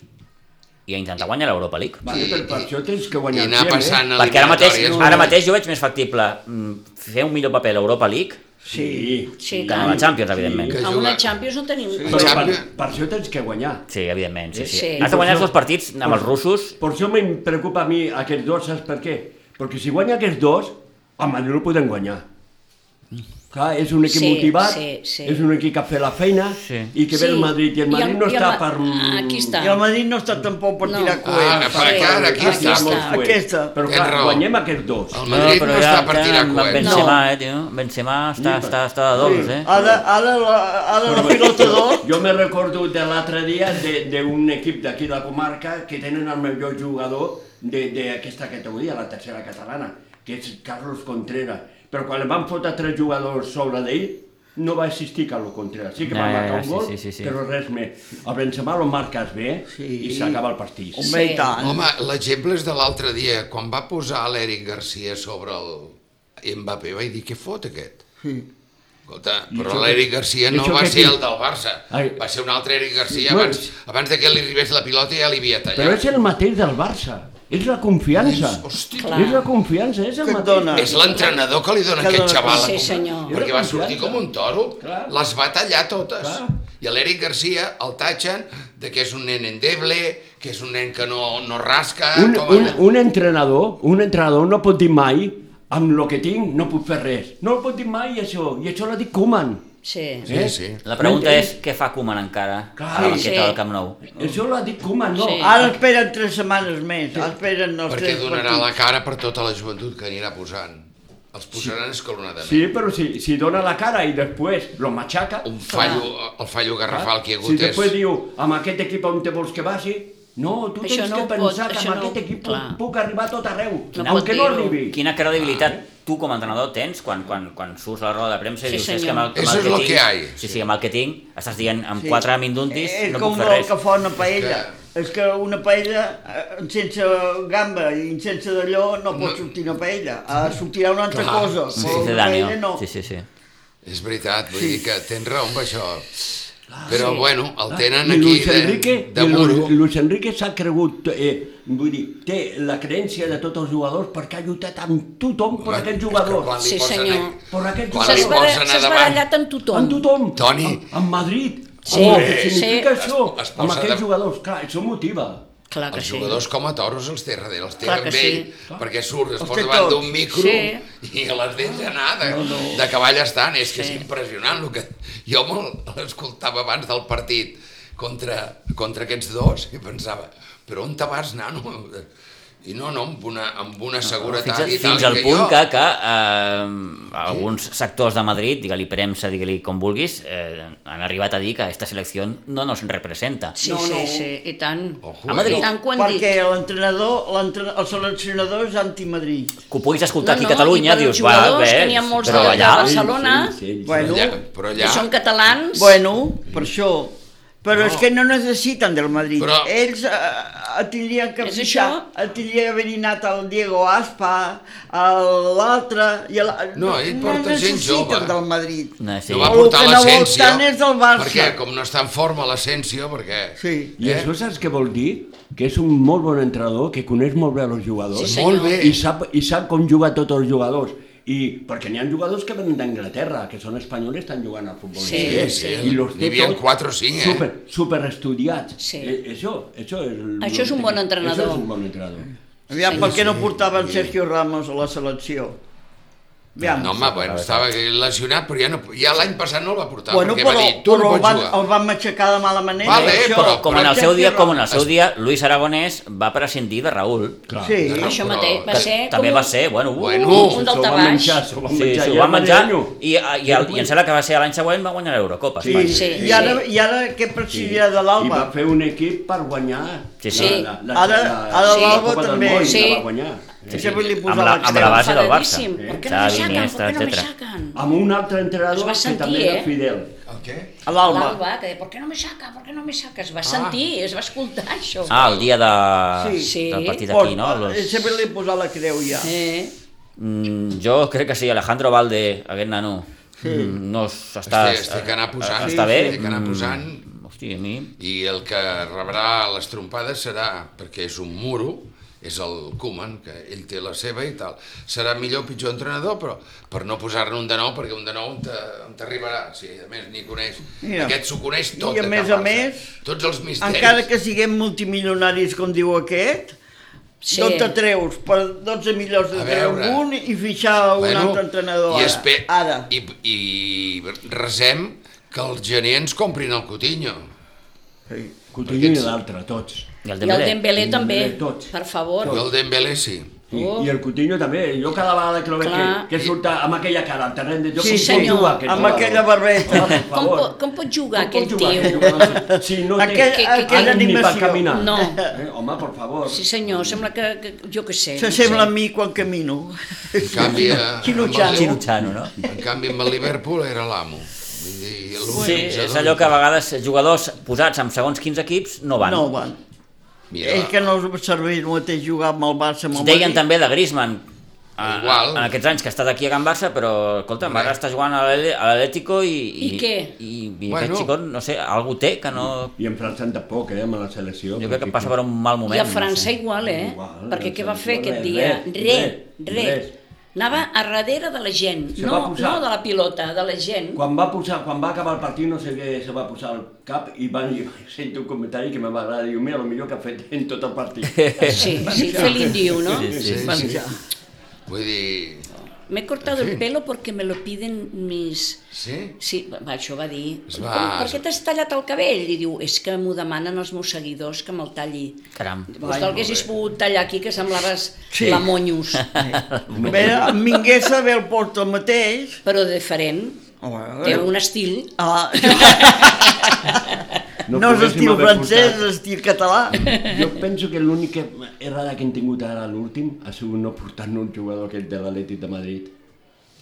S2: i a intentar guanyar l'Europa League
S5: Vale,
S6: I-
S5: però per
S6: i-
S5: això tens que
S6: I
S5: guanyar
S6: anar
S5: el Kiev, eh?
S6: passant
S2: perquè ara mateix,
S6: eliminatòries.
S2: ara mateix jo veig més factible mm, fer un millor paper a l'Europa League
S5: Sí.
S4: Sí,
S2: que a la Champions, evidentment
S6: Que
S4: A
S6: juga-
S4: una Champions no tenim...
S5: Però per,
S6: Champions.
S5: per això tens que guanyar.
S2: sí, evidentment sí, sí.
S4: Sí.
S2: has de guanyar els dos partits amb els russos
S5: Per això em preocupa a mi aquests dos, saps per què? Perquè si guanya aquests dos, a Madrid no podem guanyar. Clar, és un equip
S4: Sí,
S5: motivat,
S4: sí, sí.
S5: és un equip que ha fet la feina
S2: Sí.
S5: i que ve el Madrid i el Madrid no
S4: i el
S5: està
S4: Ma- ah,
S5: per...
S4: Aquí està.
S3: I el Madrid no està tampoc per
S4: No.
S3: tirar
S6: Ah,
S3: coets.
S6: per
S4: Sí.
S6: cara,
S4: Aquí
S6: aquí està.
S4: està.
S5: molt coet.
S3: Aquesta.
S5: Però
S6: Tens
S5: clar,
S6: raó.
S5: guanyem aquests dos.
S6: El Madrid no,
S2: però ja
S6: està per tirar
S2: amb
S6: coets.
S4: No.
S2: Benzema, eh, tio? Benzema està,
S5: Sí,
S2: està, està de dolç, eh?
S3: Ara, ara, la, ara la pilota d'or...
S5: Jo me recordo de l'altre dia de- d'un equip d'aquí de la comarca que tenen el millor jugador de- d'aquesta categoria, la tercera catalana, que és Carlos Contreras. Però quan li van fotre tres jugadors sobre d'ell, no va existir Carlos Contreras. Sí que va
S2: Ja, ja,
S5: marcar
S2: ja,
S5: un
S2: Ah, sí,
S5: gol,
S2: sí, sí, sí.
S5: però res més. El Benzema lo marques bé
S3: Sí.
S5: i s'acaba el partit.
S3: Home, i tant.
S6: Home, l'exemple és de l'altre dia, quan va posar l'Eric Garcia sobre el Mbappé, vaig dir, què fot aquest? Escolta, però
S5: això que-
S6: l'Eric Garcia
S5: i
S6: no
S5: això
S6: va
S5: que
S6: ser
S5: aquí-
S6: el del Barça,
S5: Ai.
S6: va ser un altre Eric Garcia,
S5: No,
S6: abans,
S5: és-
S6: abans de que li arribés la pilota ja li havia
S5: Però
S6: tallat.
S5: és el mateix del Barça. És la confiança.
S6: És- hosti,
S4: Clar.
S5: És la confiança, és el
S3: Que et
S5: mateix.
S3: dona.
S6: És l'entrenador que li dona
S3: Que
S6: aquest
S3: dona-
S6: xaval.
S4: Sí,
S6: Com-
S4: senyor.
S6: Perquè va sortir com un toro.
S5: Clar.
S6: Les va tallar totes.
S5: Clar.
S6: I a l'Eric Garcia el tatxen de que és un nen endeble, que és un nen que no, no rasca...
S4: Ah,
S5: Un,
S6: com a-
S5: un, un entrenador, un entrenador no pot dir mai amb lo que tinc no puc fer res. No ho pot dir mai això, i això l'ha dit Koeman.
S4: Sí.
S6: Sí,
S5: eh?
S6: sí.
S2: La pregunta és
S5: Mentre-
S2: què fa Koeman encara
S5: Clar,
S2: a la
S5: sí.
S2: banqueta del Camp Nou.
S5: Això l'ha dit Koeman, no. Ah,
S4: Sí.
S3: Ara esperen tres setmanes més, ara esperen els
S6: Perquè
S3: tres
S6: donarà la cara per tota la joventut que anirà posant. Els posaran escalonadament.
S5: Sí, però si, si dona la cara i després lo machaca...
S6: Un fallo, el fallo
S5: Ah,
S6: garrafal que hi ha
S5: Si
S6: hagut és...
S5: després diu, amb aquest equip on te vols que vagi, no, tu
S4: Això
S5: tens
S4: no
S5: que
S4: ho pot,
S5: pensar que
S4: això
S5: amb
S4: no-
S5: aquest equip puc,
S4: clar.
S5: puc arribar a tot arreu,
S4: No pot
S5: aunque no
S4: dir-ho.
S5: arribi.
S2: Quina credibilitat tu com a entrenador tens quan, quan, quan surts a la roda de premsa i
S4: Sí,
S2: dius és que
S4: senyor.
S2: amb el, amb el
S6: Eso es lo
S2: tinc,
S6: que hay.
S2: Sí, sí, amb el que tinc estàs dient amb
S3: Sí.
S2: quatre minduntis
S3: És
S2: no
S3: com
S2: puc fer
S3: el
S2: res.
S3: que fa una paella.
S6: que-
S3: És que una paella eh, sense gamba i sense d'allò no pot sortir una paella. Eh, sortirà una altra
S6: Clar,
S3: cosa.
S6: sí.
S3: però
S2: Sí,
S3: una
S2: Daniel.
S3: paella no.
S2: Sí, sí, sí.
S6: És veritat, vull dir que tens raó amb això. Però, bueno, el tenen
S5: Ah. I
S6: aquí
S5: Luis
S6: de,
S5: Enrique,
S6: de
S5: i Lu-
S6: muro.
S5: Luis Enrique s'ha cregut, eh, vull dir, té la creència de tots els jugadors perquè ha lluitat amb tothom per
S6: Clar,
S5: aquest
S6: és que
S5: jugador.
S6: quan li
S4: Sí,
S6: posen
S4: senyor.
S6: a-
S5: Per aquest
S6: quan
S5: S'ha
S6: li
S4: S'has
S5: Ara
S4: bara-
S6: posen a
S4: s'has
S6: davant...
S4: barallat amb tothom.
S5: Amb tothom.
S6: Toni.
S5: Amb, amb Madrid.
S4: Sí,
S5: oh, què
S4: sí.
S5: significa això?
S6: Es- es posa
S5: amb aquests
S6: de-
S5: jugadors. Clar, això motiva.
S4: Clar que
S6: Els
S4: sí.
S6: jugadors com a toros els té darrere, els té
S4: Clar
S6: amb
S4: que
S6: ell,
S4: sí.
S6: perquè surt, es
S5: Els
S6: posa
S5: té
S6: davant d'un
S5: tots.
S6: micro
S4: Sí.
S6: i les dents anar de, de cavall estant. És que és impressionant el que... [LAUGHS] Jo me l'escoltava abans del partit contra, contra aquests dos i pensava, però on te vas, nano? I no, no, amb una, amb una seguretat
S2: Fins, a,
S6: i tal.
S2: fins al
S6: que
S2: punt
S6: jo...
S2: que, que eh, alguns sectors de Madrid, digue-li premsa, digue-li com vulguis, eh, han arribat a dir que aquesta selecció no nos representa.
S4: Sí,
S3: No, no.
S4: sí, sí, i tant.
S6: Ojo,
S2: A Madrid.
S4: I tant quan
S3: Perquè
S4: dic.
S3: l'entrenador, l'entre- el seleccionador és anti-Madrid.
S2: Que ho puguis escoltar
S4: No,
S2: aquí
S4: no,
S2: a Catalunya,
S4: i per als
S2: dius, va,
S4: jugadors,
S2: bé,
S4: que n'hi ha molts
S2: però
S4: de- de
S2: allà...
S4: Barcelona.
S3: Bueno.
S6: Allà, però
S4: Que
S6: allà...
S4: són catalans.
S3: Bueno, per això. Però és que no necessiten del Madrid.
S6: Però-
S3: Ells eh, tindrien que
S4: És
S3: eh, tindria que haver anat el Diego Aspa, el- l'altre... i el-
S6: No, ell porta gent jove.
S3: necessiten del Madrid.
S2: No, sí.
S6: No va
S3: El
S6: portar
S3: que no vol
S6: l'Asensio,
S3: tant és del Barça.
S6: perquè com no està en forma l'Asensio, perquè...
S3: Sí.
S6: Eh?
S5: I això saps què vol dir? Que és un molt bon entrenador, que coneix molt bé els jugadors.
S4: Sí,
S6: Molt
S4: senyor.
S6: bé.
S5: I sap, I sap com jugar tots els jugadors. I, perquè n'hi ha jugadors que venen d'Anglaterra, que són espanyols i estan jugant al futbol.
S4: Sí,
S3: eh,
S5: inglès.
S6: sí.
S5: I los té
S6: N'hi havia
S5: tots
S6: quatre o cinc, eh?
S5: Super, super estudiats. Eh,
S4: Sí.
S5: Això, això és... El,
S4: Això és un bon entrenador.
S5: Això és un bon entrenador.
S3: Aviam, per què no portaven Sergio Ramos a la selecció? Aviam.
S6: No, home, bueno, estava lesionat, però ja, no, ja l'any passat no el va portar,
S3: bueno,
S6: perquè va dir, tu
S3: però
S6: no
S3: el,
S6: pots
S3: van,
S6: jugar.
S3: el van matxacar de mala manera.
S6: Vale,
S3: això.
S2: Però com en el seu dia, com en el seu
S6: Es-
S2: dia, Luis Aragonès va prescindir de Raül.
S5: Clar.
S3: Sí.
S4: Això
S6: Però-
S4: mateix, va
S2: Que
S4: ser com
S2: també
S4: un-
S2: va ser, bueno, uh,
S6: Bueno,
S4: un- un
S5: S'ho
S4: delta
S5: van
S4: baix.
S5: menjar, s'ho van
S2: Sí,
S5: menjar.
S2: sí, ho
S5: ja
S2: van menjar
S5: Mariano.
S2: i, i, i, el, i em sembla que va ser l'any següent va guanyar l'Eurocopa.
S5: Sí.
S2: Espanya.
S3: Sí,
S4: Sí,
S3: I, ara,
S4: sí.
S3: I ara què presidirà de
S5: I
S3: l'Alba?
S5: va fer un equip per guanyar
S2: Sí, sí.
S3: Ara- ara
S5: la
S3: l'Alba
S5: Copa del
S3: també.
S5: Món,
S4: Sí.
S5: La va guanyar.
S3: Sí, sí. Vull dir,
S2: Amb, la, amb la base del Barça.
S4: Enfadadíssim. Per què no me
S2: Xavi,
S4: saquen? Per
S2: Iniesta,
S4: què no me
S2: etc.
S4: saquen?
S5: Amb un altre
S4: Es
S5: entrenador
S4: va
S5: que
S4: sentir,
S5: també era
S4: eh?
S5: fidel.
S6: El què?
S3: A l'Alba.
S4: L'Alba, que deia, per què no me saca, per què no me saca? Es va sentir, es va escoltar això.
S2: Ah, el dia de...
S3: Sí.
S4: Sí.
S2: del partit aquí, no?
S3: Porta,
S2: Los...
S3: eh, Sempre li he posat la creu ja.
S4: Eh?
S2: Mm, jo crec que sí, Alejandro Valde, aquest nano, mm, no s'està...
S6: Hosti, es té que anar posant,
S2: Està
S6: sí,
S2: bé?
S6: es té que anar posant.
S2: Mm, hosti, a mi...
S6: I el que rebrà les trompades serà, perquè és un muro, és el Koeman, que ell té la seva i tal. Serà millor o pitjor entrenador, però per no posar-ne un de nou, perquè un de nou on t'arribarà, si a més ni coneix.
S3: Mira.
S6: Aquest s'ho coneix tot.
S3: I a
S6: de
S3: més
S6: cap
S3: a
S6: Barça.
S3: més,
S6: Tots els misteris.
S3: Encara que siguem multimilionaris, com diu aquest,
S4: Sí.
S3: sí. d'on te treus? Per 12 milions de
S6: A
S3: treure
S6: veure.
S3: un i fitxar un altre entrenador
S6: i,
S3: ara.
S6: espe...
S3: ara.
S6: I, I resem que els gener ens comprin el Coutinho.
S5: Coutinho i l'altre, tots.
S2: I el
S4: I el
S2: Dembélé.
S4: Dembélé també,
S5: tots.
S4: per favor.
S6: Jo el Dembélé sí.
S5: I,
S4: Oh.
S5: I el Coutinho també, jo cada vegada que lo veig que,
S4: Clar.
S5: que surt amb aquella cara al terreny de joc,
S3: Sí,
S5: com pot
S4: senyor.
S5: jugar aquest
S3: Amb
S5: jugador?
S3: aquella barbeta.
S5: Home, per
S4: Com,
S5: favor.
S4: po, com pot jugar
S5: Com
S4: aquest
S5: pot jugar
S4: tio?
S5: jugador? Si no té
S3: Aquell-
S5: ànim
S4: aquella
S5: ni per
S3: animació.
S5: caminar.
S4: No.
S5: Eh, home, per favor.
S4: Sí senyor, sembla que, que jo què sé. no sé.
S3: S'assembla a mi quan camino.
S6: En canvi, eh,
S3: [LAUGHS] Quino
S6: amb el-
S3: Chano.
S2: Chino Chano, no?
S6: En canvi, amb el Liverpool era l'amo. Vull dir,
S2: Sí,
S6: l'organitzador.
S2: és allò que a vegades jugadors posats amb segons quins equips no van.
S3: No, van.
S6: Mira,
S3: És que no els serveix el mateix jugar amb el Barça amb el
S2: Deien
S3: Madrid.
S2: també de Griezmann, a-
S6: Igual.
S2: en aquests anys que ha estat aquí a Can Barça, però, escolta, ara està jugant a l'Ale- a l'Atlético i...
S4: I què?
S2: I, i
S6: Bueno.
S2: aquest xicot, no sé, algú té que no...
S5: I en França tampoc, eh, amb la selecció.
S2: Jo crec que passa per un mal moment.
S4: I a França
S2: No sé.
S4: igual, eh?
S5: Igual,
S4: Perquè
S5: no
S4: què
S5: sé,
S4: va fer
S5: igual,
S4: aquest
S5: res,
S4: dia?
S5: res,
S4: Re,
S5: res,
S4: re.
S5: res.
S4: Anava a darrere de la gent,
S5: Se
S4: no,
S5: va posar-
S4: no de la pilota, de la gent.
S5: Quan va, posar, quan va acabar el partit no sé què se va posar al cap i van [LAUGHS] sentir un comentari que em va agradar. Diu, mira, el millor que ha fet en tot el
S2: [LAUGHS]
S5: partit.
S4: Sí, sí, fue l'indiu, no?
S2: Sí, sí,
S5: Van
S6: sí.
S5: posar.
S6: Vull dir...
S4: Me he cortado
S6: Sí.
S4: el pelo porque me lo piden mis...
S6: Sí?
S4: Sí, va, això va dir.
S6: Es
S4: Com,
S6: va-
S4: per què t'has tallat el cabell? I diu, és que m'ho demanen els meus seguidors que me'l talli.
S2: Caram.
S4: Doncs l'haguessis pogut tallar aquí, que semblaves
S3: Sí.
S4: la Monyos,
S3: Bé, en Minguesa ve el porta el mateix.
S4: però diferent. Té un estil.
S3: Ah, no, és
S5: poguéssim
S3: estil
S5: haver
S3: francès,
S5: portat.
S3: és estil català.
S5: Jo penso que l'única errada que hem tingut ara l'últim ha sigut no portar-ne un jugador aquest de l'Atlètic de Madrid,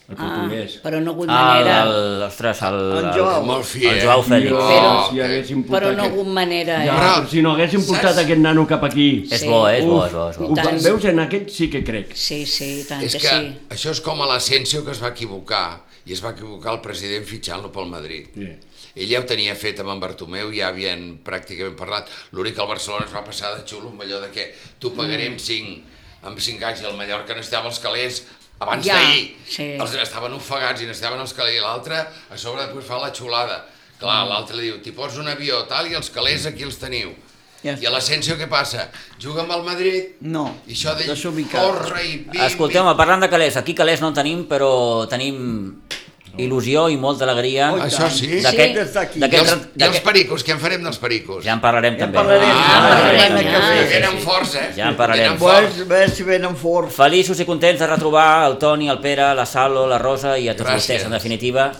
S4: Ah,
S5: el portuguès.
S4: però no hagut
S2: Ah, el,
S4: manera.
S2: el, ostres, el,
S3: En Joao.
S6: Molt fi,
S2: el
S6: eh?
S2: Joao Félix.
S5: Jo,
S4: Però-
S5: si haguéssim portat
S4: Però no
S5: aquest-
S4: hagut manera, eh?
S5: Ja,
S6: Però-
S5: però si no haguéssim portat
S6: Saps?
S5: aquest nano cap aquí...
S2: És
S4: Sí.
S2: bo, eh? és bo, és bo, és bo.
S5: Ho
S4: I tant.
S5: veus, en aquest sí que crec.
S4: Sí, sí, i tant
S6: És
S4: que,
S6: que
S4: sí.
S6: això és com a l'Asensio que es va equivocar i es va equivocar el president fitxant-lo pel Madrid.
S5: Sí.
S6: Ell ja ho tenia fet amb en Bartomeu, ja havien pràcticament parlat. L'únic que el Barcelona es va passar de xulo amb allò de que t'ho pagaré
S2: Mm.
S6: amb 5, amb 5 anys i el Mallorca necessitava els calés abans
S4: Ja,
S6: d'ahir.
S4: sí.
S6: Els estaven ofegats i necessitaven els calés. I L'altre a sobre després fa la xulada. Clar,
S2: Mm.
S6: l'altre li diu, t'hi poso un avió, tal, i els calés aquí els teniu.
S3: Ja
S6: I a l'Asensio què passa? Juga amb el Madrid
S3: No,
S6: i això de
S3: desubicat.
S6: corre i pim,
S2: Escolteu-me, parlant de calés, aquí calés no en tenim, però tenim il·lusió i molta alegria
S3: Oi,
S6: Això sí.
S4: Sí.
S2: d'aquest...
S3: Està aquí.
S6: I els,
S2: d'aquest-
S6: I els
S2: d'aquest-
S6: pericos, què en farem dels pericos?
S2: Ja en parlarem
S3: Ja
S2: també.
S3: parlarem.
S6: Ah,
S3: Ah,
S6: parlarem,
S3: sí,
S6: ja.
S3: sí, sí.
S6: Venen forts, eh?
S2: Ja en parlarem.
S6: Venen
S3: Pues,
S6: forts.
S3: a veure si venen fort.
S2: Feliços i contents de retrobar el Toni, el Pere, la Salo, la Rosa i a tots
S6: Gràcies.
S2: vostès, en definitiva,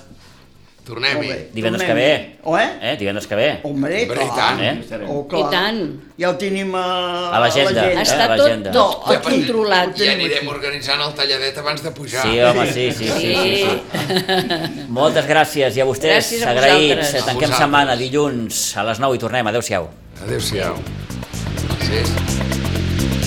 S6: Tornem-hi.
S3: Molt bé.
S2: divendres que ve.
S3: Tornem-hi. Oh, eh?
S2: Eh, divendres que ve.
S6: Oh,
S3: Hombre,
S6: Hombre, i
S3: clar.
S6: tant.
S2: Eh?
S3: Oh,
S5: Estarem.
S3: clar.
S4: I tant.
S3: Ja ho tenim a,
S2: A l'agenda, eh?
S4: Està
S2: a
S4: tot,
S2: l'agenda.
S4: tot
S6: Ja pas-
S4: controlat.
S6: Ja anirem organitzant el talladet abans de pujar.
S2: Sí, home, sí, sí, sí, sí, sí. Moltes gràcies i a vostès,
S4: Gràcies a
S2: agraïts.
S4: vosaltres.
S2: Tanquem
S6: A vosaltres.
S2: setmana, dilluns, a les 9 i tornem. Adéu-siau.
S6: Adéu-siau. Sí, sí.